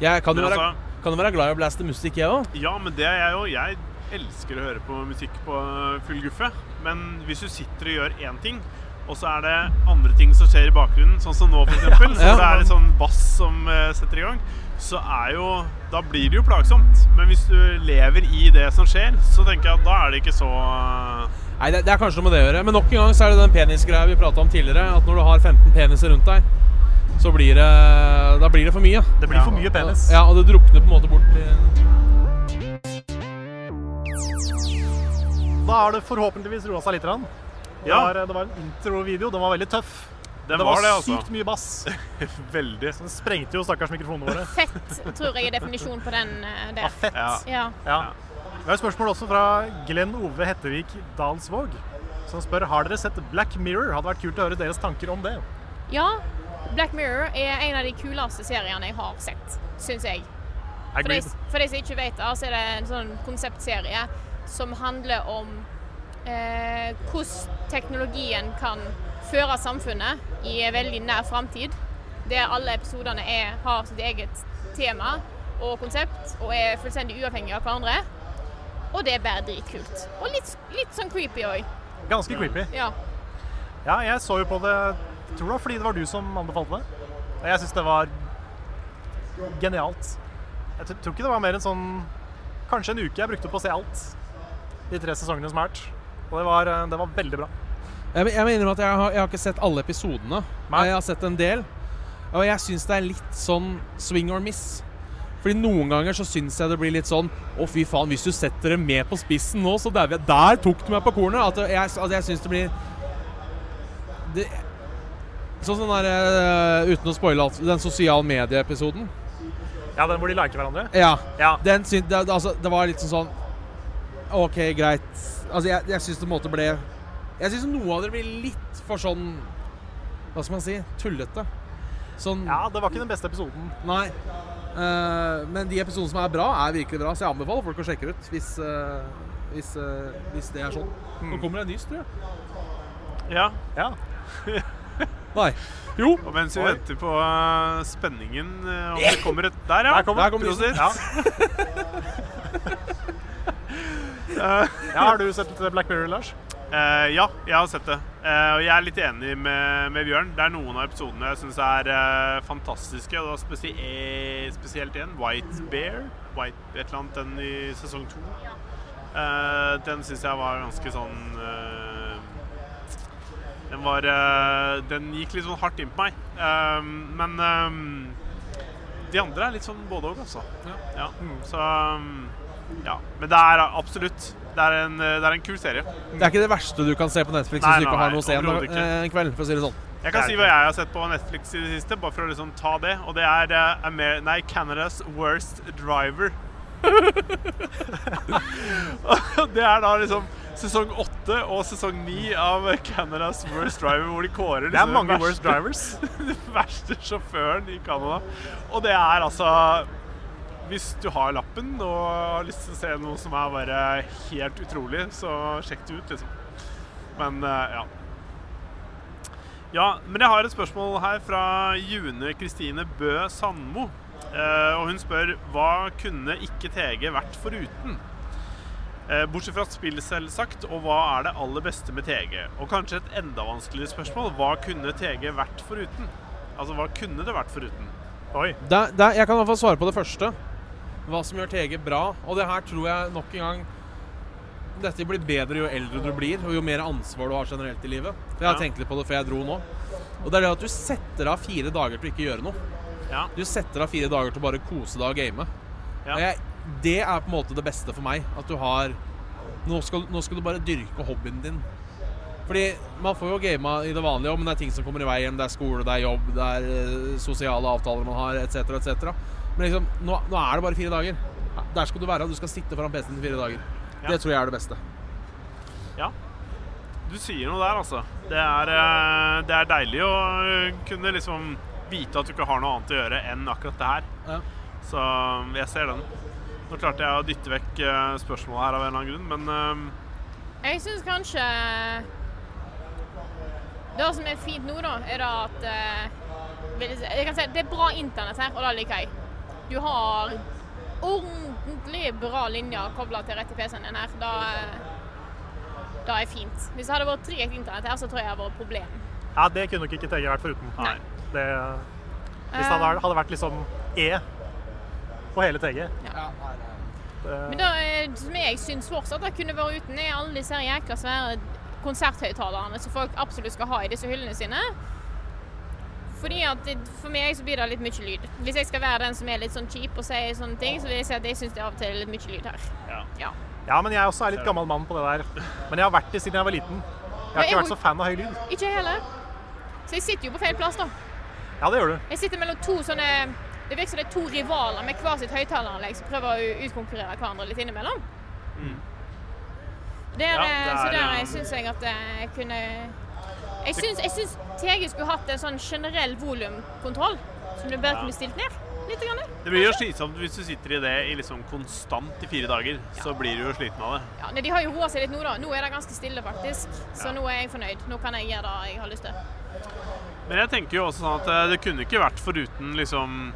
[SPEAKER 3] Jeg kan jo
[SPEAKER 4] Men
[SPEAKER 3] være,
[SPEAKER 4] altså-
[SPEAKER 3] kan jo være glad i å blaste musikk, jeg òg.
[SPEAKER 4] Ja, men det er jeg jo. Jeg elsker å høre på musikk på eh, full guffe. Men hvis du sitter og gjør én ting, og så er det andre ting som skjer i bakgrunnen, sånn som nå f.eks., eksempel
[SPEAKER 3] Ja.
[SPEAKER 4] så det er litt sånn bass som eh, setter i gang, så er jo Da blir det jo plagsomt. Men hvis du lever i det som skjer, så tenker jeg at da er det ikke så eh,
[SPEAKER 3] Nei, det, det er kanskje noe med det å gjøre. Men nok en gang så er det den penisgreia vi prata om tidligere. At når du har 15 peniser rundt deg, så blir det Da blir det for mye.
[SPEAKER 1] Det blir for mye penis.
[SPEAKER 3] Ja, og det drukner på en måte bort i
[SPEAKER 1] Da har det forhåpentligvis roa seg litt. grann. Det,
[SPEAKER 4] Ja.
[SPEAKER 1] var, det var en introvideo. Den var veldig tøff.
[SPEAKER 4] Den
[SPEAKER 1] det
[SPEAKER 4] var
[SPEAKER 1] var,
[SPEAKER 4] eh, det, altså.
[SPEAKER 1] sykt mye bass.
[SPEAKER 4] Veldig.
[SPEAKER 1] Den sprengte jo stakkars mikrofonene våre.
[SPEAKER 2] Fett tror jeg er definisjonen på den eh,
[SPEAKER 1] Ja,
[SPEAKER 2] der.
[SPEAKER 1] fett.
[SPEAKER 4] Ja.
[SPEAKER 2] [laughs] Ja.
[SPEAKER 1] Ja. Vi har et spørsmål også fra Glenn Ove Hettevik Dalsvåg, som spør har dere sett Black Mirror. Hadde vært kult å høre deres tanker om det.
[SPEAKER 2] ja. Black Mirror er en av de kuleste seriene jeg har sett, syns jeg. For de,
[SPEAKER 1] Agreed.
[SPEAKER 2] for de som ikke vet det, så er det en sånn konseptserie som handler om eh, hvordan teknologien kan føre samfunnet i en veldig nær framtid. Der alle episodene er, har sitt eget tema og konsept og er fullstendig uavhengige av hverandre. Og det er bare dritkult. Og litt, litt sånn creepy òg.
[SPEAKER 1] Ganske creepy.
[SPEAKER 2] Ja.
[SPEAKER 1] Ja, jeg så jo på det tror det var fordi det var du som anbefalte det. Og jeg syns det var genialt. Jeg tr- tror ikke det var mer enn sånn Kanskje en uke jeg brukte på å se alt. De tre sesongene som har vært. Og det var, eh, det var veldig bra.
[SPEAKER 3] Jeg, må- jeg må innrømme at jeg har, jeg har ikke sett alle episodene.
[SPEAKER 1] Nei.
[SPEAKER 3] Jeg har sett en del. Og jeg syns det er litt sånn swing or miss. Fordi noen ganger så syns jeg det blir litt sånn Å, fy faen, hvis du setter det med på spissen nå, så dauer jeg. Der tok du meg på kornet! At jeg, altså, jeg syns det blir det, Sånn sånn der eh, Uten å spoile alt, den sosiale medieepisoden.
[SPEAKER 1] Ja, den hvor de liker hverandre.
[SPEAKER 3] Ja.
[SPEAKER 1] Ja.
[SPEAKER 3] Den syn, det, altså, det var litt sånn sånn OK, greit. Altså, jeg, jeg syns det på en måte ble Jeg syns noe av det blir litt for sånn Hva skal man si? Tullete. Sånn
[SPEAKER 1] Ja, det var ikke den beste episoden.
[SPEAKER 3] Nei. Eh, men de episodene som er bra, er virkelig bra, så jeg anbefaler folk å sjekke det ut hvis, eh, hvis, eh, hvis det er sånn. Nå kommer det en nys, tror jeg.
[SPEAKER 4] Ja.
[SPEAKER 1] Ja.
[SPEAKER 3] Nei. Jo.
[SPEAKER 4] Og mens vi
[SPEAKER 1] Oi.
[SPEAKER 4] venter på eh, spenningen eh, om det kommer et Der, ja!
[SPEAKER 1] Der kom den.
[SPEAKER 3] Der kom den.
[SPEAKER 4] Prosit.
[SPEAKER 1] Ja. [laughs] ja, har du sett litt Black Mirror, Lars?
[SPEAKER 4] Eh, ja, jeg har sett det. Eh, og jeg er litt enig med, med Bjørn. Det er noen av episodene jeg syns er eh, fantastiske. Og da spesi eh, spesielt en, White Bear. White, et eller annet, den i sesong to. Eh, den syns jeg var ganske sånn eh, Den var eh, Den gikk litt sånn hardt inn på meg. Eh, men eh, de andre er litt sånn både òg, altså. Ja. Så eh, ja. Men det er absolutt Det er en, det er en kul serie.
[SPEAKER 3] Det er ikke det verste du kan se på Netflix
[SPEAKER 4] Nei,
[SPEAKER 3] hvis du ikke
[SPEAKER 4] nei,
[SPEAKER 3] har
[SPEAKER 4] nei,
[SPEAKER 3] noe å se en,
[SPEAKER 4] overhodet ikke.
[SPEAKER 3] eh, en kveld, for å si det sånn.
[SPEAKER 4] Jeg kan si hva jeg har sett på Netflix i det siste, bare for å liksom ta det. Og det er eh, Amer nei, Canada's [laughs] Worst Driver. Og det er da liksom sesong åtte og sesong ni av Canadas Worst Driver, hvor de kårer
[SPEAKER 1] Det er
[SPEAKER 4] liksom
[SPEAKER 1] mange
[SPEAKER 4] den
[SPEAKER 1] worst drivers.
[SPEAKER 4] [laughs] den verste sjåføren i Canada. Og det er altså Hvis du har lappen og har lyst til å se noe som er bare helt utrolig, så sjekk det ut, liksom. Men eh, ja. Ja, men jeg har et spørsmål her fra June Kristine Bø Sandmo. Eh, og hun spør hva kunne ikke TG vært foruten? Eh, Bortsett fra spill, selvsagt, og hva er det aller beste med TG? Og kanskje et enda vanskeligere spørsmål, hva kunne TG vært foruten? Altså, hva kunne det vært foruten? Oi.
[SPEAKER 3] Der, der, jeg kan i hvert fall svare på det første. Hva som gjør TG bra. Og det her tror jeg nok en gang Dette blir bedre jo eldre du blir, og jo mer ansvar du har generelt i livet. For Jeg har
[SPEAKER 4] Ja.
[SPEAKER 3] tenkt litt på det før jeg dro nå. Og det er det at du setter av fire dager til å ikke gjøre noe.
[SPEAKER 4] Ja.
[SPEAKER 3] Du setter av fire dager til å bare kose deg og game.
[SPEAKER 4] Ja.
[SPEAKER 3] Og jeg, det er på en måte det beste for meg. At du har Nå skal, nå skal du bare dyrke hobbyen din. Fordi man får jo gama i det vanlige òg, men det er ting som kommer i veien. Det er skole, det er jobb, det er eh, sosiale avtaler man har, etc., etc. Men liksom, nå, nå er det bare fire dager. Der skal du være. Du skal sitte foran PC-en i fire dager.
[SPEAKER 4] Ja.
[SPEAKER 3] Det tror jeg er det beste.
[SPEAKER 4] Ja. Du sier noe der, altså. Det er, eh, det er deilig å kunne liksom vite at du ikke har noe annet å gjøre enn akkurat det her.
[SPEAKER 3] Ja.
[SPEAKER 4] Så um, jeg ser den. Nå klarte jeg å dytte vekk eh, spørsmålet her av en eller annen grunn, men eh,
[SPEAKER 2] Jeg syns kanskje eh, Det som er fint nå, da, er da at eh, vil jeg si- jeg kan si, Det er bra internett her, og det liker jeg. Du har ordentlig bra linjer kobla til rett til PC-en din her. Da, eh, da er fint. Hvis det hadde vært tregt internett her, så tror jeg det hadde vært et problem.
[SPEAKER 1] Ja, det kunne nok ikke TG vært foruten.
[SPEAKER 2] Nei.
[SPEAKER 1] Det, hvis det hadde, hadde vært liksom E på hele TG.
[SPEAKER 2] Men det eh, som jeg syns fortsatt det kunne vært uten, er alle disse her jækla svære konserthøyttalerne som folk absolutt skal ha i disse hyllene sine. Fordi at det, For meg så blir det litt mye lyd. Hvis jeg skal være den som er litt sånn kjip og sier sånne ting, så vil jeg si at jeg syns det av og til er litt mye lyd her.
[SPEAKER 4] ja.
[SPEAKER 2] Ja.
[SPEAKER 1] Ja, men jeg også er litt gammel mann på det der. Men jeg har vært det siden jeg var liten. Jeg har
[SPEAKER 2] Men
[SPEAKER 1] ikke
[SPEAKER 2] jeg
[SPEAKER 1] vært så
[SPEAKER 2] må-
[SPEAKER 1] fan av høy lyd.
[SPEAKER 2] Ikke jeg heller. Så jeg sitter jo på feil plass, da.
[SPEAKER 1] Ja, det gjør du.
[SPEAKER 2] Jeg sitter mellom to sånne Det virker som det er to rivaler med hver sitt høyttaleranlegg som prøver å utkonkurrere hverandre litt innimellom. Der,
[SPEAKER 4] Mm. Ja,
[SPEAKER 2] eh,
[SPEAKER 4] det
[SPEAKER 2] så
[SPEAKER 4] er,
[SPEAKER 2] der
[SPEAKER 4] eh,
[SPEAKER 2] syns jeg at jeg kunne Jeg syns, jeg syns TG skulle hatt en sånn generell volumkontroll som du bare kunne stilt ned. Litt. Grann.
[SPEAKER 4] Det blir jo slitsomt hvis du sitter i det i liksom konstant i fire dager. Så blir du jo sliten av det.
[SPEAKER 2] Ja, nei, de har jo roa seg litt nå, da. Nå er det ganske stille, faktisk. Så nå er jeg fornøyd. Nå kan jeg gjøre det jeg har lyst til.
[SPEAKER 4] Men jeg tenker jo også sånn at eh, det kunne ikke vært foruten liksom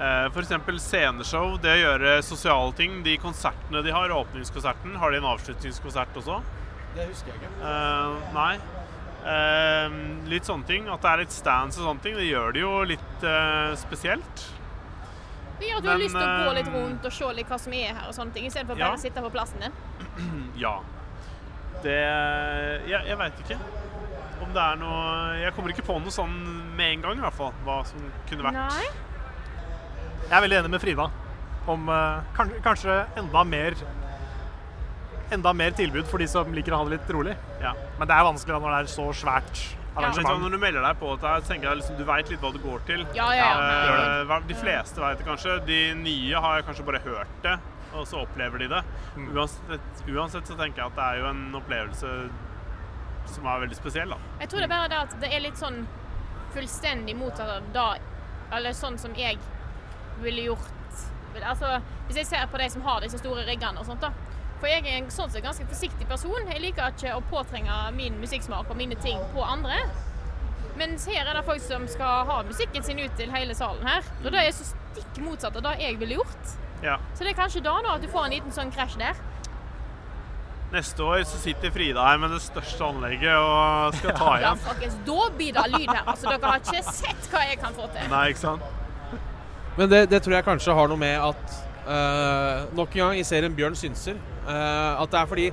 [SPEAKER 4] eh, for eksempel sceneshow, det å gjøre sosiale ting. De konsertene de har, åpningskonserten, har de en avslutningskonsert også?
[SPEAKER 3] Det husker jeg ikke.
[SPEAKER 4] Eh, nei. Eh, litt sånne ting. At det er litt stands og sånne ting, det gjør det jo litt eh, spesielt.
[SPEAKER 2] Det gjør at du har
[SPEAKER 4] Men,
[SPEAKER 2] lyst til å gå
[SPEAKER 4] eh,
[SPEAKER 2] litt rundt og se litt hva som er her og sånne ting, istedenfor
[SPEAKER 4] ja.
[SPEAKER 2] bare å sitte på plassen din.
[SPEAKER 4] Ja. Det Jeg, jeg veit ikke om det er noe Jeg kommer ikke på noe sånn med en gang, i hvert fall. Hva som kunne vært.
[SPEAKER 2] Nei.
[SPEAKER 1] Jeg er veldig enig med Frida om eh, kan, kanskje enda mer Enda mer tilbud for de som liker å ha det litt rolig.
[SPEAKER 4] Ja.
[SPEAKER 1] Men det er vanskelig da når det er så svært
[SPEAKER 4] Men sånn,
[SPEAKER 1] arrangement.
[SPEAKER 4] når du melder deg på dette, her, så tenker jeg liksom, du veit litt hva du går til.
[SPEAKER 2] Ja, ja, ja.
[SPEAKER 4] Eh, hva- De fleste veit det kanskje. De nye har kanskje bare hørt det, og så opplever de det. Uansett, uansett så tenker jeg at det er jo en opplevelse som er veldig spesiell, da.
[SPEAKER 2] Jeg tror det er bare det at det er litt sånn fullstendig motsatt av da Eller sånn som jeg ville gjort Vel, Altså, hvis jeg ser på de som har disse store riggene og sånt, da. For jeg er en sånn sett ganske forsiktig person. Jeg liker ikke å påtrenge min musikksmak og mine ting på andre. Mens her er det folk som skal ha musikken sin ut til hele salen her. Og det er så stikk motsatt av det jeg ville gjort.
[SPEAKER 4] Ja.
[SPEAKER 2] Så det er kanskje da nå at du får en liten sånn krasj der.
[SPEAKER 4] Neste år så sitter Frida her med det største anlegget og skal ta
[SPEAKER 2] Ja,
[SPEAKER 4] igjen.
[SPEAKER 2] folkens, da blir det lyd her. Altså, dere har ikke sett hva jeg kan få til.
[SPEAKER 4] Nei, ikke sant?
[SPEAKER 3] Men det, det tror jeg kanskje har noe med at eh, Nok en gang i serien Bjørn synser. eh, at det er fordi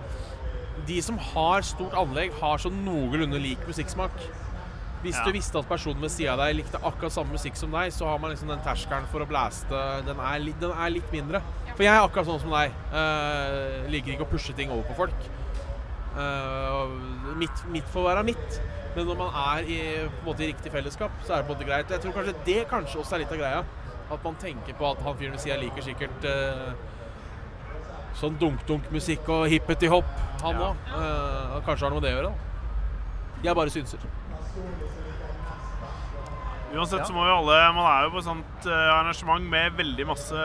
[SPEAKER 3] de som har stort anlegg, har så noenlunde lik musikksmak. Hvis
[SPEAKER 4] Ja.
[SPEAKER 3] du visste at personen ved sida av deg likte akkurat samme musikk som deg, så har man liksom den terskelen for å blaste Den er, litt- den er litt mindre. For jeg er akkurat sånn som deg. eh, liker ikke å pushe ting over på folk. Eh, og mitt, mitt får være mitt. Men når man er i, på en måte, i riktig fellesskap, så er det på en måte greit. Jeg tror kanskje det kanskje også er litt av greia. At man tenker på at han fyren ved sida liker sikkert eh, sånn dunk-dunk-musikk og hippety-hopp, han
[SPEAKER 4] Ja.
[SPEAKER 3] òg. kanskje har noe med det å gjøre, da. Jeg bare synser.
[SPEAKER 4] Uansett
[SPEAKER 3] Ja.
[SPEAKER 4] så må jo alle Man er jo på et sånt eh, arrangement med veldig masse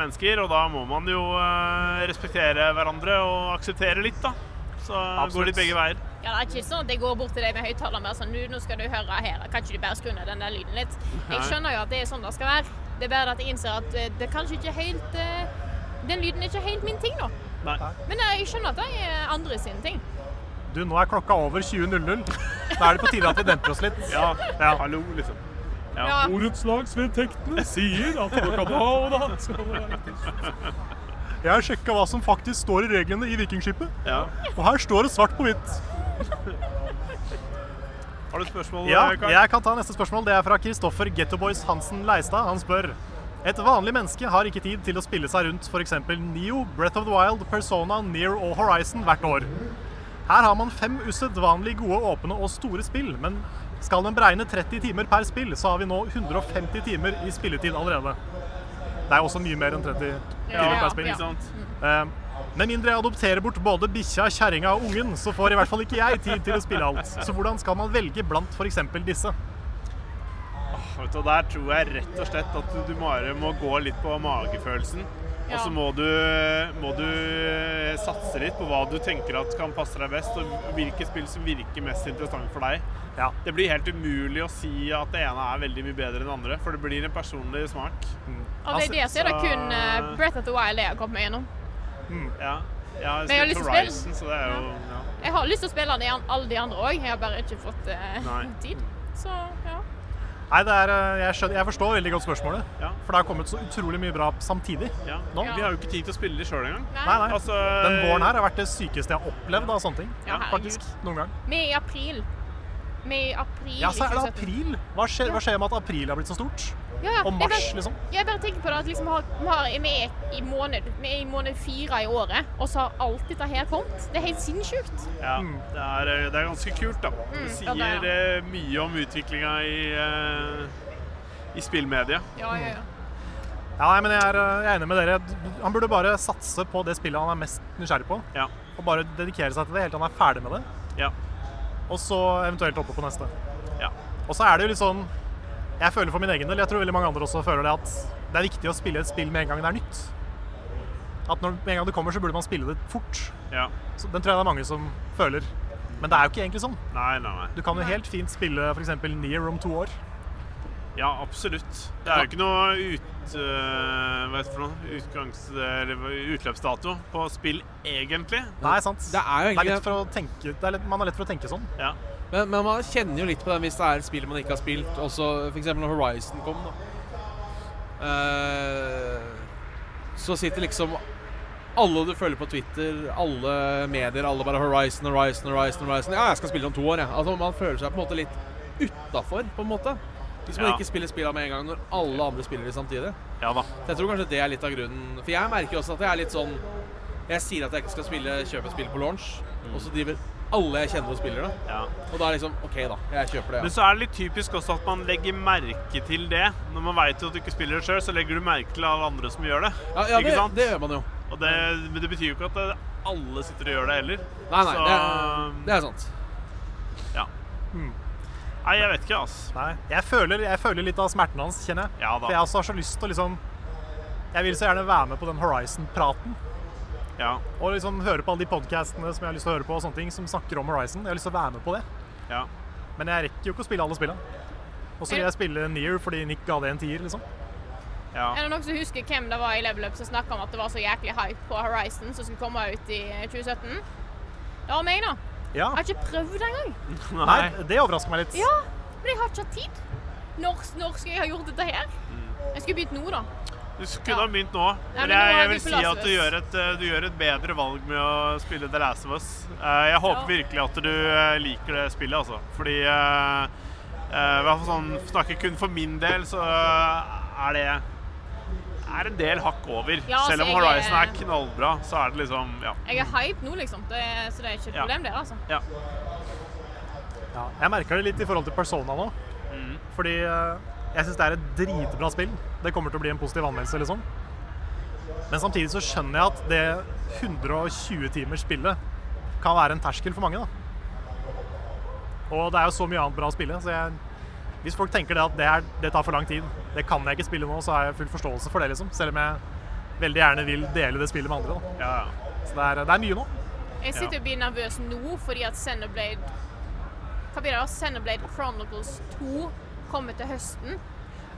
[SPEAKER 4] mennesker, og da må man jo eh, respektere hverandre og akseptere litt, da. Så går
[SPEAKER 3] Absolutt.
[SPEAKER 4] litt begge veier.
[SPEAKER 2] Ja, det er ikke sånn at jeg går bort til deg med høyttaler med sånn, du, nå skal du høre her, kan ikke du bare skru ned den der lyden litt? Jeg
[SPEAKER 4] Nei.
[SPEAKER 2] skjønner jo at det er sånn det skal være. Det er bare at jeg innser at eh, det er kanskje ikke helt eh, Den lyden er ikke helt min ting nå.
[SPEAKER 4] Nei.
[SPEAKER 2] Men eh, jeg skjønner at det er andre sin ting.
[SPEAKER 1] Du, nå er klokka over 20.00. Da er det på tide at vi demper oss litt.
[SPEAKER 4] Ja,
[SPEAKER 1] Ja.
[SPEAKER 4] hallo, liksom.
[SPEAKER 2] Ja.
[SPEAKER 1] [laughs]
[SPEAKER 3] Orettslagsvedtektene sier at du kan ha
[SPEAKER 1] Jeg har sjekka hva som faktisk står i reglene i Vikingskipet,
[SPEAKER 4] Ja.
[SPEAKER 1] og her står det svart på hvitt.
[SPEAKER 4] Har du et spørsmål,
[SPEAKER 1] Ja,
[SPEAKER 4] eh, Karl?
[SPEAKER 1] jeg kan ta neste spørsmål. Det er fra Kristoffer Gettoboys Hansen Leistad. Han spør Et vanlig menneske har ikke tid til å spille seg rundt f.eks. Neo, Breath of the Wild, Persona, Near og Horizon hvert år. Her har man fem usedvanlig gode, åpne og store spill, men skal man beregne 30 timer per spill, så har vi nå 150 timer i spilletid allerede. Det er også mye mer enn 30 timer
[SPEAKER 2] ja, Mm.
[SPEAKER 1] per spill.
[SPEAKER 2] ja.
[SPEAKER 4] Ikke sant?
[SPEAKER 1] Eh, Med mindre jeg adopterer bort både bikkja, kjerringa og ungen, så får i hvert fall ikke jeg tid til å spille alt. Så hvordan skal man velge blant f.eks. disse?
[SPEAKER 4] Vet du, der tror jeg rett og slett at du bare må gå litt på magefølelsen. Og
[SPEAKER 2] Ja.
[SPEAKER 4] så må, du- må du satse litt på hva du tenker at kan passe deg best, og hvilke spill som virker mest interessant for deg.
[SPEAKER 1] Ja.
[SPEAKER 4] Det blir helt umulig å si at det ene er veldig mye bedre enn det andre, for det blir en personlig smak.
[SPEAKER 1] Mm.
[SPEAKER 2] Av det
[SPEAKER 4] Altså,
[SPEAKER 2] der så er det
[SPEAKER 4] så-
[SPEAKER 2] kun eh, Breath of the Wild jeg har kommet meg gjennom.
[SPEAKER 4] Ja. Jeg har
[SPEAKER 2] Men jeg har
[SPEAKER 4] spilt
[SPEAKER 2] lyst til å
[SPEAKER 4] Horizon, så det er jo ja.
[SPEAKER 2] Jeg har lyst til å spille den i an- alle de andre òg, jeg har bare ikke fått eh,
[SPEAKER 4] Nei.
[SPEAKER 2] tid. Så ja.
[SPEAKER 1] Nei, det er, eh, jeg, skjønner, jeg forstår veldig godt spørsmålet,
[SPEAKER 4] Ja.
[SPEAKER 1] for det har kommet så utrolig mye bra samtidig.
[SPEAKER 4] ja.
[SPEAKER 1] Nå?
[SPEAKER 4] Vi har jo ikke tid til å spille det sjøl engang.
[SPEAKER 1] Nei, nei.
[SPEAKER 4] Altså,
[SPEAKER 1] Den våren her har vært det sykeste jeg har opplevd av sånne ting.
[SPEAKER 2] Ja, herregud.
[SPEAKER 1] faktisk. Noen gang.
[SPEAKER 2] Vi er i april. Vi er i april.
[SPEAKER 1] Ja, så er det
[SPEAKER 2] 2017.
[SPEAKER 1] april. Hva skjer, hva skjer med at april har blitt så stort?
[SPEAKER 2] Ja, ja.
[SPEAKER 1] Og
[SPEAKER 2] Jeg
[SPEAKER 1] mars,
[SPEAKER 2] bare-
[SPEAKER 1] liksom?
[SPEAKER 2] Jeg bare tenker på det at liksom har, vi, har, vi, er i måned, vi er i måned fire i året, og så har alt dette her kommet. Det er helt sinnssykt.
[SPEAKER 4] Ja, det er, eh, det er ganske kult, da. Det
[SPEAKER 2] Mm. ja,
[SPEAKER 4] sier
[SPEAKER 2] det er det.
[SPEAKER 4] eh, mye om utviklinga i, eh, i spillmedia.
[SPEAKER 2] Ja, ja, ja.
[SPEAKER 1] Ja, nei, men jeg er, eh, jeg er enig med dere. Han burde bare satse på det spillet han er mest nysgjerrig på,
[SPEAKER 4] Ja.
[SPEAKER 1] og bare dedikere seg til det helt til han er ferdig med det.
[SPEAKER 4] ja.
[SPEAKER 1] og så eventuelt oppe på neste.
[SPEAKER 4] Ja.
[SPEAKER 1] Og så er det jo litt sånn Jeg føler for min egen del, jeg tror veldig mange andre også føler det, at det er viktig å spille et spill med en gang det er nytt. At når, med en gang det kommer, så burde man spille det fort.
[SPEAKER 4] ja.
[SPEAKER 1] Så den tror jeg det er mange som føler. Men det er jo ikke egentlig sånn.
[SPEAKER 4] Nei, nei, nei.
[SPEAKER 1] Du kan jo helt fint spille f.eks. Nier om to år.
[SPEAKER 4] Ja, absolutt. Det er jo ikke noe ut, eh, hva heter det for noe? Utgangs- eller utløpsdato på spill, egentlig.
[SPEAKER 1] Nei, sant?
[SPEAKER 3] Det er jo
[SPEAKER 1] Det er
[SPEAKER 3] egentlig
[SPEAKER 1] lett for å tenke, det er lett, man er lett for å tenke sånn.
[SPEAKER 4] Ja.
[SPEAKER 3] Men, men man kjenner jo litt på den hvis det er et spill man ikke har spilt. Også f.eks. når Horizon kom, da. Eh, så sitter liksom alle du følger på Twitter, alle medier, alle bare Horizon, Horizon, Horizon. Horizon Ja, jeg skal spille det om to år, jeg. Altså, man føler seg på en måte litt utafor, på en måte. Hvis man
[SPEAKER 4] Ja.
[SPEAKER 3] ikke spiller spillene med en gang når alle andre spiller de samtidig.
[SPEAKER 4] Ja da.
[SPEAKER 3] Så jeg tror kanskje det er litt av grunnen. For jeg merker også at jeg er litt sånn Jeg sier at jeg ikke skal spille kjøpe spill på launch, og så driver alle jeg kjenner og spiller det.
[SPEAKER 4] Ja.
[SPEAKER 3] Og da er liksom OK, da. Jeg kjøper det.
[SPEAKER 4] Men
[SPEAKER 3] Ja.
[SPEAKER 4] så er det litt typisk også at man legger merke til det. Når man veit at du ikke spiller det sjøl, så legger du merke til alle andre som gjør det.
[SPEAKER 3] Ja, ja,
[SPEAKER 4] ikke
[SPEAKER 3] det,
[SPEAKER 4] sant?
[SPEAKER 3] det gjør man jo.
[SPEAKER 4] Og det, men det betyr jo ikke at det, alle sitter og gjør det heller.
[SPEAKER 3] Nei, nei,
[SPEAKER 4] så,
[SPEAKER 3] det er, det er sant.
[SPEAKER 4] Ja. Hmm. Nei, jeg vet ikke, altså.
[SPEAKER 1] Nei. Jeg føler, jeg føler litt av smerten hans, kjenner jeg.
[SPEAKER 4] Ja da.
[SPEAKER 1] For jeg også har så lyst til å liksom Jeg vil så gjerne være med på den Horizon-praten.
[SPEAKER 4] Ja,
[SPEAKER 1] Og liksom høre på alle de podcastene som jeg har lyst til å høre på, og sånne ting, som snakker om Horizon. Jeg har lyst til å være med på det,
[SPEAKER 4] ja.
[SPEAKER 1] men jeg rekker jo ikke å spille alle spillene. Og så vil jeg spille Near fordi Nick ga det en tier, liksom.
[SPEAKER 4] ja.
[SPEAKER 2] Er det noen som husker hvem det var i Level Up som snakka om at det var så jæklig hype på Horizon som skulle komme ut i 2017? Det var meg, da.
[SPEAKER 1] Ja.
[SPEAKER 2] Jeg har ikke prøvd det engang.
[SPEAKER 4] [laughs]
[SPEAKER 1] Nei, det overrasker meg litt.
[SPEAKER 2] Ja, men jeg har ikke hatt tid. Når, når skal jeg ha gjort dette her? Jeg skulle begynt nå, da.
[SPEAKER 4] Du skulle
[SPEAKER 2] Ja.
[SPEAKER 4] ha begynt nå,
[SPEAKER 2] Nei,
[SPEAKER 4] men
[SPEAKER 2] men nå
[SPEAKER 4] jeg,
[SPEAKER 2] er
[SPEAKER 4] jeg
[SPEAKER 2] vi
[SPEAKER 4] vil
[SPEAKER 2] på
[SPEAKER 4] si
[SPEAKER 2] Last
[SPEAKER 4] at
[SPEAKER 2] of
[SPEAKER 4] du
[SPEAKER 2] Us.
[SPEAKER 4] gjør, et, eh, du gjør et bedre valg med å spille The Last of Us. Eh, Jeg håper
[SPEAKER 2] Ja.
[SPEAKER 4] virkelig at du eh, liker det spillet, altså. Fordi eh, eh, i hvert fall sånn, Snakker kun for min del, så eh, er det er en del hakk over.
[SPEAKER 2] Ja, altså,
[SPEAKER 4] Selv om
[SPEAKER 2] jeg
[SPEAKER 4] Horizon
[SPEAKER 2] er-
[SPEAKER 4] er knallbra, så er det liksom Ja.
[SPEAKER 2] Jeg er hype nå, liksom. Det, så det er ikke et
[SPEAKER 4] Ja.
[SPEAKER 2] problem, det, altså.
[SPEAKER 4] ja.
[SPEAKER 1] Ja, jeg merker det litt i forhold til Persona nå. Fordi eh, jeg syns det er et dritbra spill. Det kommer til å bli en positiv anmeldelse, liksom. Men samtidig så skjønner jeg at det 120 timers spillet kan være en terskel for mange. da. Og det er jo så mye annet bra å spille, så jeg, hvis folk tenker det at det, er, det tar for lang tid, det kan jeg ikke spille nå, så har jeg full forståelse for det, liksom. Selv om jeg veldig gjerne vil dele det spillet med andre. da. Så det er, det er mye nå.
[SPEAKER 2] Jeg sitter og blir nervøs nå fordi at Xenoblade Hva blir det da? Xenoblade Chronicles 2 kommer til høsten.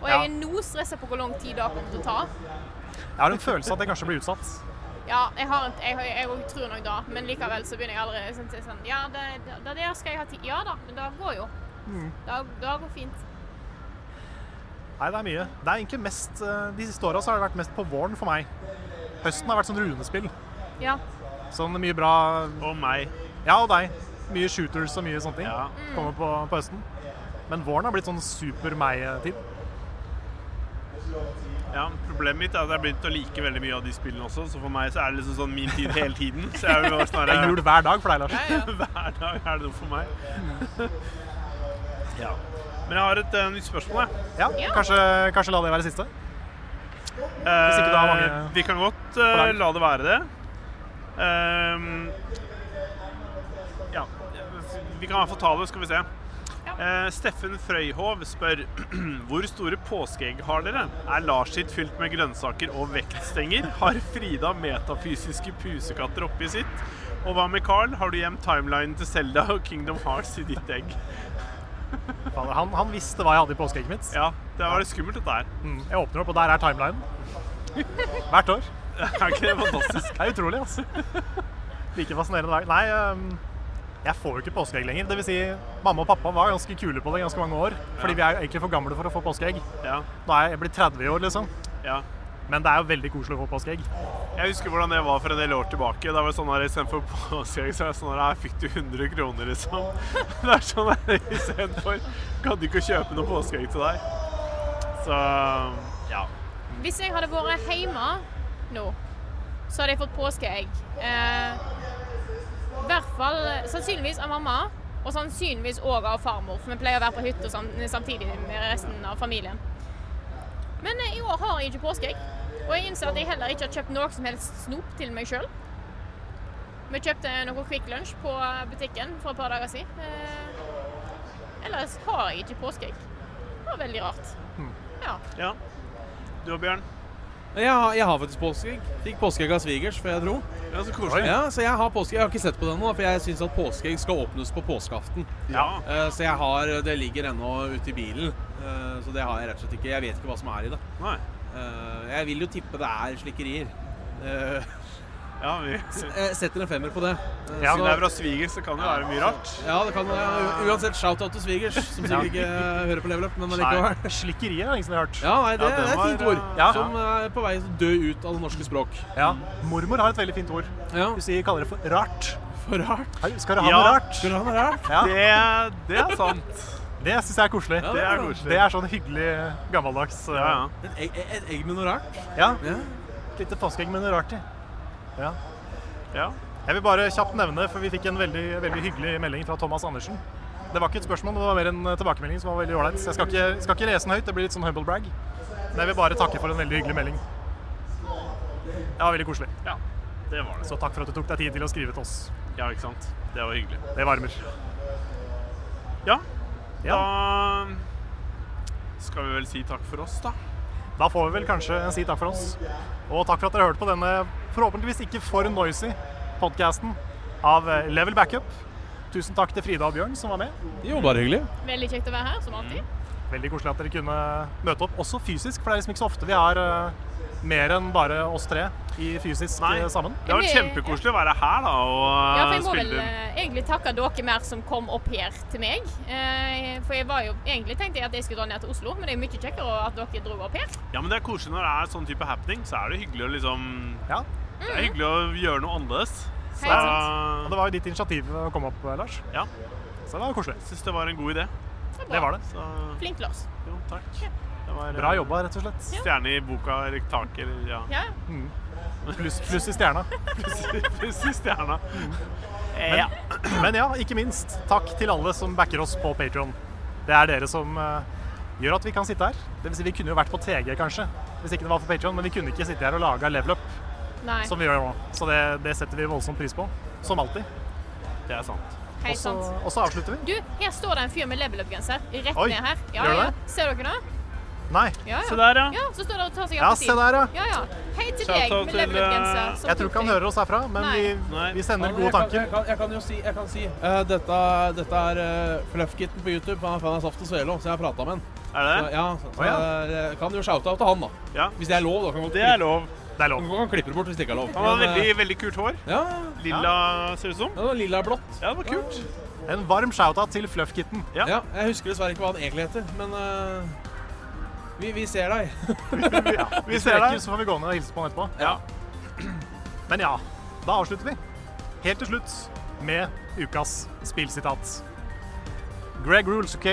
[SPEAKER 2] Og jeg
[SPEAKER 1] Ja.
[SPEAKER 2] er nå stressa på hvor lang tid det kommer til å ta.
[SPEAKER 1] Jeg har en følelse av at det kanskje blir utsatt.
[SPEAKER 2] Ja, jeg, har en, jeg, har- jeg tror nok da, men likevel så begynner jeg allerede sånn, til sånn Ja, det, det, det der skal jeg ha tid Ja da, men det går jo. Det, det går fint.
[SPEAKER 1] Nei, det er mye. Det er egentlig mest, eh, De siste åra har det vært mest på våren for meg. Høsten har vært sånn runespill.
[SPEAKER 2] Ja.
[SPEAKER 1] Sånn mye bra
[SPEAKER 4] Og meg.
[SPEAKER 1] Ja, og deg. Mye shooters og mye sånne ting
[SPEAKER 4] Ja.
[SPEAKER 1] kommer på, på høsten. Men våren har blitt sånn super meg-tid.
[SPEAKER 4] Ja, Problemet mitt er at jeg har begynt å like veldig mye av de spillene også, så for meg så er det liksom sånn min tid hele tiden. Så jeg vil bare
[SPEAKER 1] Det er
[SPEAKER 4] snarere
[SPEAKER 1] jul hver dag for deg, Lars.
[SPEAKER 4] [laughs] Hver dag er det noe for meg. Ja. Men jeg har et eh, nytt spørsmål, jeg.
[SPEAKER 1] Ja,
[SPEAKER 2] Ja.
[SPEAKER 1] kanskje, kanskje la det være siste?
[SPEAKER 4] Hvis
[SPEAKER 1] ikke du har mange
[SPEAKER 4] Vi kan godt eh,
[SPEAKER 1] på lager.
[SPEAKER 4] la det være det. Ehm, ja. Vi kan i hvert fall ta det, skal vi se. Eh, Steffen Frøyhov spør [clears throat] Hvor store påskeegg har dere? Er Lars sitt fylt med grønnsaker og vektstenger? Har Frida metafysiske pusekatter oppi sitt? Og hva med Carl? Har du gjemt timelinen til Selda og Kingdom Hearts i ditt egg?
[SPEAKER 1] Fader, Han, han visste hva jeg hadde i påskeegget mitt.
[SPEAKER 4] Ja, det var litt skummelt dette her. [laughs]
[SPEAKER 1] Mm, Jeg åpner opp, og der er timelinen. Hvert år.
[SPEAKER 4] Er ikke det fantastisk?
[SPEAKER 1] Det er utrolig, altså. [laughs] Like fascinerende dag. Nei, ehm, jeg får jo ikke påskeegg lenger. Det vil si, mamma og pappa var ganske kule på det i ganske mange år. Fordi vi er jo egentlig for gamle for å få påskeegg.
[SPEAKER 4] Ja,
[SPEAKER 1] Nå er jeg, jeg blitt 30 i år, liksom.
[SPEAKER 4] ja.
[SPEAKER 1] Men det er jo veldig koselig å få påskeegg.
[SPEAKER 4] Jeg husker hvordan jeg var for en del år tilbake. Da var det sånn her, Istedenfor påskeegg så var det sånn her Her fikk du 100 kroner, liksom. [laughs] Det er sånn her istedenfor. Gadd ikke å kjøpe noe påskeegg til deg. Så ja.
[SPEAKER 2] Hvis jeg hadde vært hjemme nå, så hadde jeg fått påskeegg. Eh, I hvert fall sannsynligvis av mamma, og sannsynligvis òg av farmor. For vi pleier å være på hytta sam samtidig med resten av familien. Men eh, i år har jeg ikke påskeegg. Og jeg innser at jeg heller ikke har kjøpt noe som helst snop til meg sjøl. Vi kjøpte noe Quick Lunch på butikken for et par dager siden. Eh, ellers har jeg ikke påskeegg. Det var veldig rart. Ja.
[SPEAKER 4] ja. Du og Bjørn?
[SPEAKER 3] Jeg har, jeg har faktisk påskeegg. Fikk påskeegg av svigers før jeg dro.
[SPEAKER 4] Ja, så koselig.
[SPEAKER 3] Ja, så jeg har påskeegg. Jeg har ikke sett på den nå, for jeg syns at påskeegg skal åpnes på påskeaften.
[SPEAKER 4] Ja.
[SPEAKER 3] Eh, så jeg har Det ligger ennå ute i bilen, eh, så det har jeg rett og slett ikke. Jeg vet ikke hva som er i det.
[SPEAKER 4] Nei.
[SPEAKER 3] Eh, jeg vil jo tippe det er slikkerier. Eh,
[SPEAKER 4] Ja, vi
[SPEAKER 3] jeg setter en femmer på det. Eh,
[SPEAKER 4] ja,
[SPEAKER 3] så-
[SPEAKER 4] men det er fra svigers, så kan det være mye rart.
[SPEAKER 3] Ja, det kan være. Uansett, shout-out til svigers, som sikkert ikke hører på Level
[SPEAKER 4] [laughs]
[SPEAKER 3] Up, men allikevel.
[SPEAKER 1] Nei, Slikkerier er det ingen som har hørt.
[SPEAKER 3] Ja, nei, det,
[SPEAKER 4] Ja, den
[SPEAKER 3] det er et fint
[SPEAKER 4] var,
[SPEAKER 3] ord.
[SPEAKER 4] eh,
[SPEAKER 1] ja.
[SPEAKER 3] Som er på vei til å dø ut av det norske språk.
[SPEAKER 1] Ja. Mormor har et veldig fint ord.
[SPEAKER 3] Ja,
[SPEAKER 1] Hun sier, kaller det for rart.
[SPEAKER 3] for rart.
[SPEAKER 1] Hei, Skal du ha
[SPEAKER 4] Ja.
[SPEAKER 1] noe rart?
[SPEAKER 3] Skulle han være rart?
[SPEAKER 1] Ja.
[SPEAKER 4] Det, det er sant.
[SPEAKER 1] Det syns jeg er koselig.
[SPEAKER 3] Ja,
[SPEAKER 4] Det er
[SPEAKER 1] Det
[SPEAKER 4] koselig.
[SPEAKER 1] er sånn hyggelig gammeldags
[SPEAKER 4] Ja, ja.
[SPEAKER 3] Et egg, et egg med noe rart?
[SPEAKER 1] ja.
[SPEAKER 3] Ja.
[SPEAKER 1] Et lite påskeegg med noe rart i. Ja.
[SPEAKER 4] ja.
[SPEAKER 1] Jeg vil bare kjapt nevne, for vi fikk en veldig, veldig hyggelig melding fra Thomas Andersen. Det var ikke et spørsmål, det var mer en eh, tilbakemelding som var veldig ålreit. Så jeg skal ikke, skal ikke lese den høyt, det blir litt sånn humble brag. Men jeg vil bare takke for en veldig hyggelig melding. Det var veldig koselig.
[SPEAKER 4] ja. Det var det.
[SPEAKER 1] Så takk for at du tok deg tid til å skrive til oss.
[SPEAKER 4] Ja, ikke sant. Det var hyggelig.
[SPEAKER 1] Det varmer.
[SPEAKER 4] Ja,
[SPEAKER 1] Ja.
[SPEAKER 4] da skal vi vel si takk for oss, da.
[SPEAKER 1] Da får vi vel kanskje si takk for oss. Og takk for at dere hørte på denne forhåpentligvis ikke for noisy podcasten av eh, Level Backup. Tusen takk til Frida og Bjørn som var med.
[SPEAKER 3] Jo, bare hyggelig.
[SPEAKER 2] Veldig kjekt å være her, som alltid.
[SPEAKER 1] Veldig koselig at dere kunne møte opp, også fysisk, for det er liksom ikke så ofte vi har eh, mer enn bare oss tre i fysisk
[SPEAKER 4] Nei.
[SPEAKER 1] eh, sammen.
[SPEAKER 4] Det har vært kjempekoselig å være her da,
[SPEAKER 2] Ja, for
[SPEAKER 4] og
[SPEAKER 2] jeg må vel
[SPEAKER 4] spille inn.
[SPEAKER 2] eh, egentlig takke dere mer som kom opp her til meg. Eh, For jeg var jo egentlig tenkte jeg at jeg skulle dra ned til Oslo, men det er mye kjekkere at dere dro opp her.
[SPEAKER 4] Ja, men det er koselig når det er sånn type happening, så er det hyggelig å liksom
[SPEAKER 1] Ja.
[SPEAKER 2] Mm.
[SPEAKER 4] Det er hyggelig å gjøre noe annerledes. Så
[SPEAKER 2] Helt
[SPEAKER 1] Og det var jo ditt initiativ å komme opp, eh, Lars.
[SPEAKER 4] Ja.
[SPEAKER 1] Så det var koselig.
[SPEAKER 4] jeg syns det var en god idé.
[SPEAKER 2] Så
[SPEAKER 1] Det var det.
[SPEAKER 4] Så
[SPEAKER 2] Flink Lars.
[SPEAKER 4] jo, takk. Det var eh,
[SPEAKER 1] Bra jobba, rett og slett.
[SPEAKER 4] Stjerne i boka eller taket
[SPEAKER 2] [laughs]
[SPEAKER 4] eller ja.
[SPEAKER 2] Ja.
[SPEAKER 1] Pluss pluss i stjerna.
[SPEAKER 4] Pluss i stjerna.
[SPEAKER 1] Men, men ja, ikke minst, takk til alle som backer oss på Patreon. Det er dere som eh, gjør at vi kan sitte her. Det vil si, vi kunne jo vært på TG, kanskje, hvis ikke det var for Patreon, men vi kunne ikke sitte her og lage level up.
[SPEAKER 2] Nei.
[SPEAKER 1] som vi gjør nå. Så det, det setter vi voldsom pris på. Som alltid.
[SPEAKER 4] Det er sant.
[SPEAKER 2] Helt
[SPEAKER 1] Og så-
[SPEAKER 2] sant.
[SPEAKER 1] Og så avslutter vi.
[SPEAKER 2] Du, her står det en fyr med level up-genser rett
[SPEAKER 1] Oi,
[SPEAKER 2] ned her.
[SPEAKER 1] gjør
[SPEAKER 2] ja.
[SPEAKER 1] det?
[SPEAKER 2] Ser dere det?
[SPEAKER 1] Nei.
[SPEAKER 2] Ja, ja.
[SPEAKER 4] Se der, ja.
[SPEAKER 2] ja. Så står det og tar seg
[SPEAKER 1] Ja,
[SPEAKER 2] av på
[SPEAKER 1] se der, ja.
[SPEAKER 2] ja, ja. Hei til deg
[SPEAKER 4] Shout-out
[SPEAKER 2] med
[SPEAKER 4] til,
[SPEAKER 2] level up-genser.
[SPEAKER 4] eh,
[SPEAKER 2] som
[SPEAKER 1] Jeg tror
[SPEAKER 2] tok
[SPEAKER 1] ikke han
[SPEAKER 2] deg.
[SPEAKER 1] hører oss herfra, men vi,
[SPEAKER 4] Nei.
[SPEAKER 1] vi
[SPEAKER 3] Ja,
[SPEAKER 1] sender
[SPEAKER 3] men
[SPEAKER 1] gode
[SPEAKER 3] jeg kan, jeg,
[SPEAKER 1] tanker.
[SPEAKER 3] kan, jeg kan jo si, jeg kan si eh, dette, dette er uh, Fluffkitten på YouTube. Han er fan av Saft og Svele, så jeg har prata med han.
[SPEAKER 4] Er det
[SPEAKER 3] Så,
[SPEAKER 4] det?
[SPEAKER 3] ja, så, så,
[SPEAKER 1] Å, ja.
[SPEAKER 3] jeg kan jo shoute-out til han, da.
[SPEAKER 4] Ja.
[SPEAKER 3] Hvis det er lov. Da kan man
[SPEAKER 4] Det er lov.
[SPEAKER 1] Det er lov.
[SPEAKER 3] Man kan klippe det bort hvis det ikke er lov.
[SPEAKER 4] Han har
[SPEAKER 3] Men, eh,
[SPEAKER 4] veldig, veldig kult hår.
[SPEAKER 3] Ja,
[SPEAKER 4] Lilla, ser det ut som.
[SPEAKER 3] ja det var lilla og blått.
[SPEAKER 4] Ja, det var kult.
[SPEAKER 1] En varm shout-out til Fluffkitten. [laughs]
[SPEAKER 4] Ja.
[SPEAKER 3] Ja, jeg husker dessverre ikke hva han egentlig heter, men eh, vi, vi ser deg.
[SPEAKER 1] Vi
[SPEAKER 4] ser
[SPEAKER 1] ser
[SPEAKER 4] deg.
[SPEAKER 1] deg, så får vi gå ned og hilse på han etterpå.
[SPEAKER 4] Ja.
[SPEAKER 1] [clears throat] Men ja, da avslutter vi. Helt til slutt med ukas spillsitat. Greg rules, OK?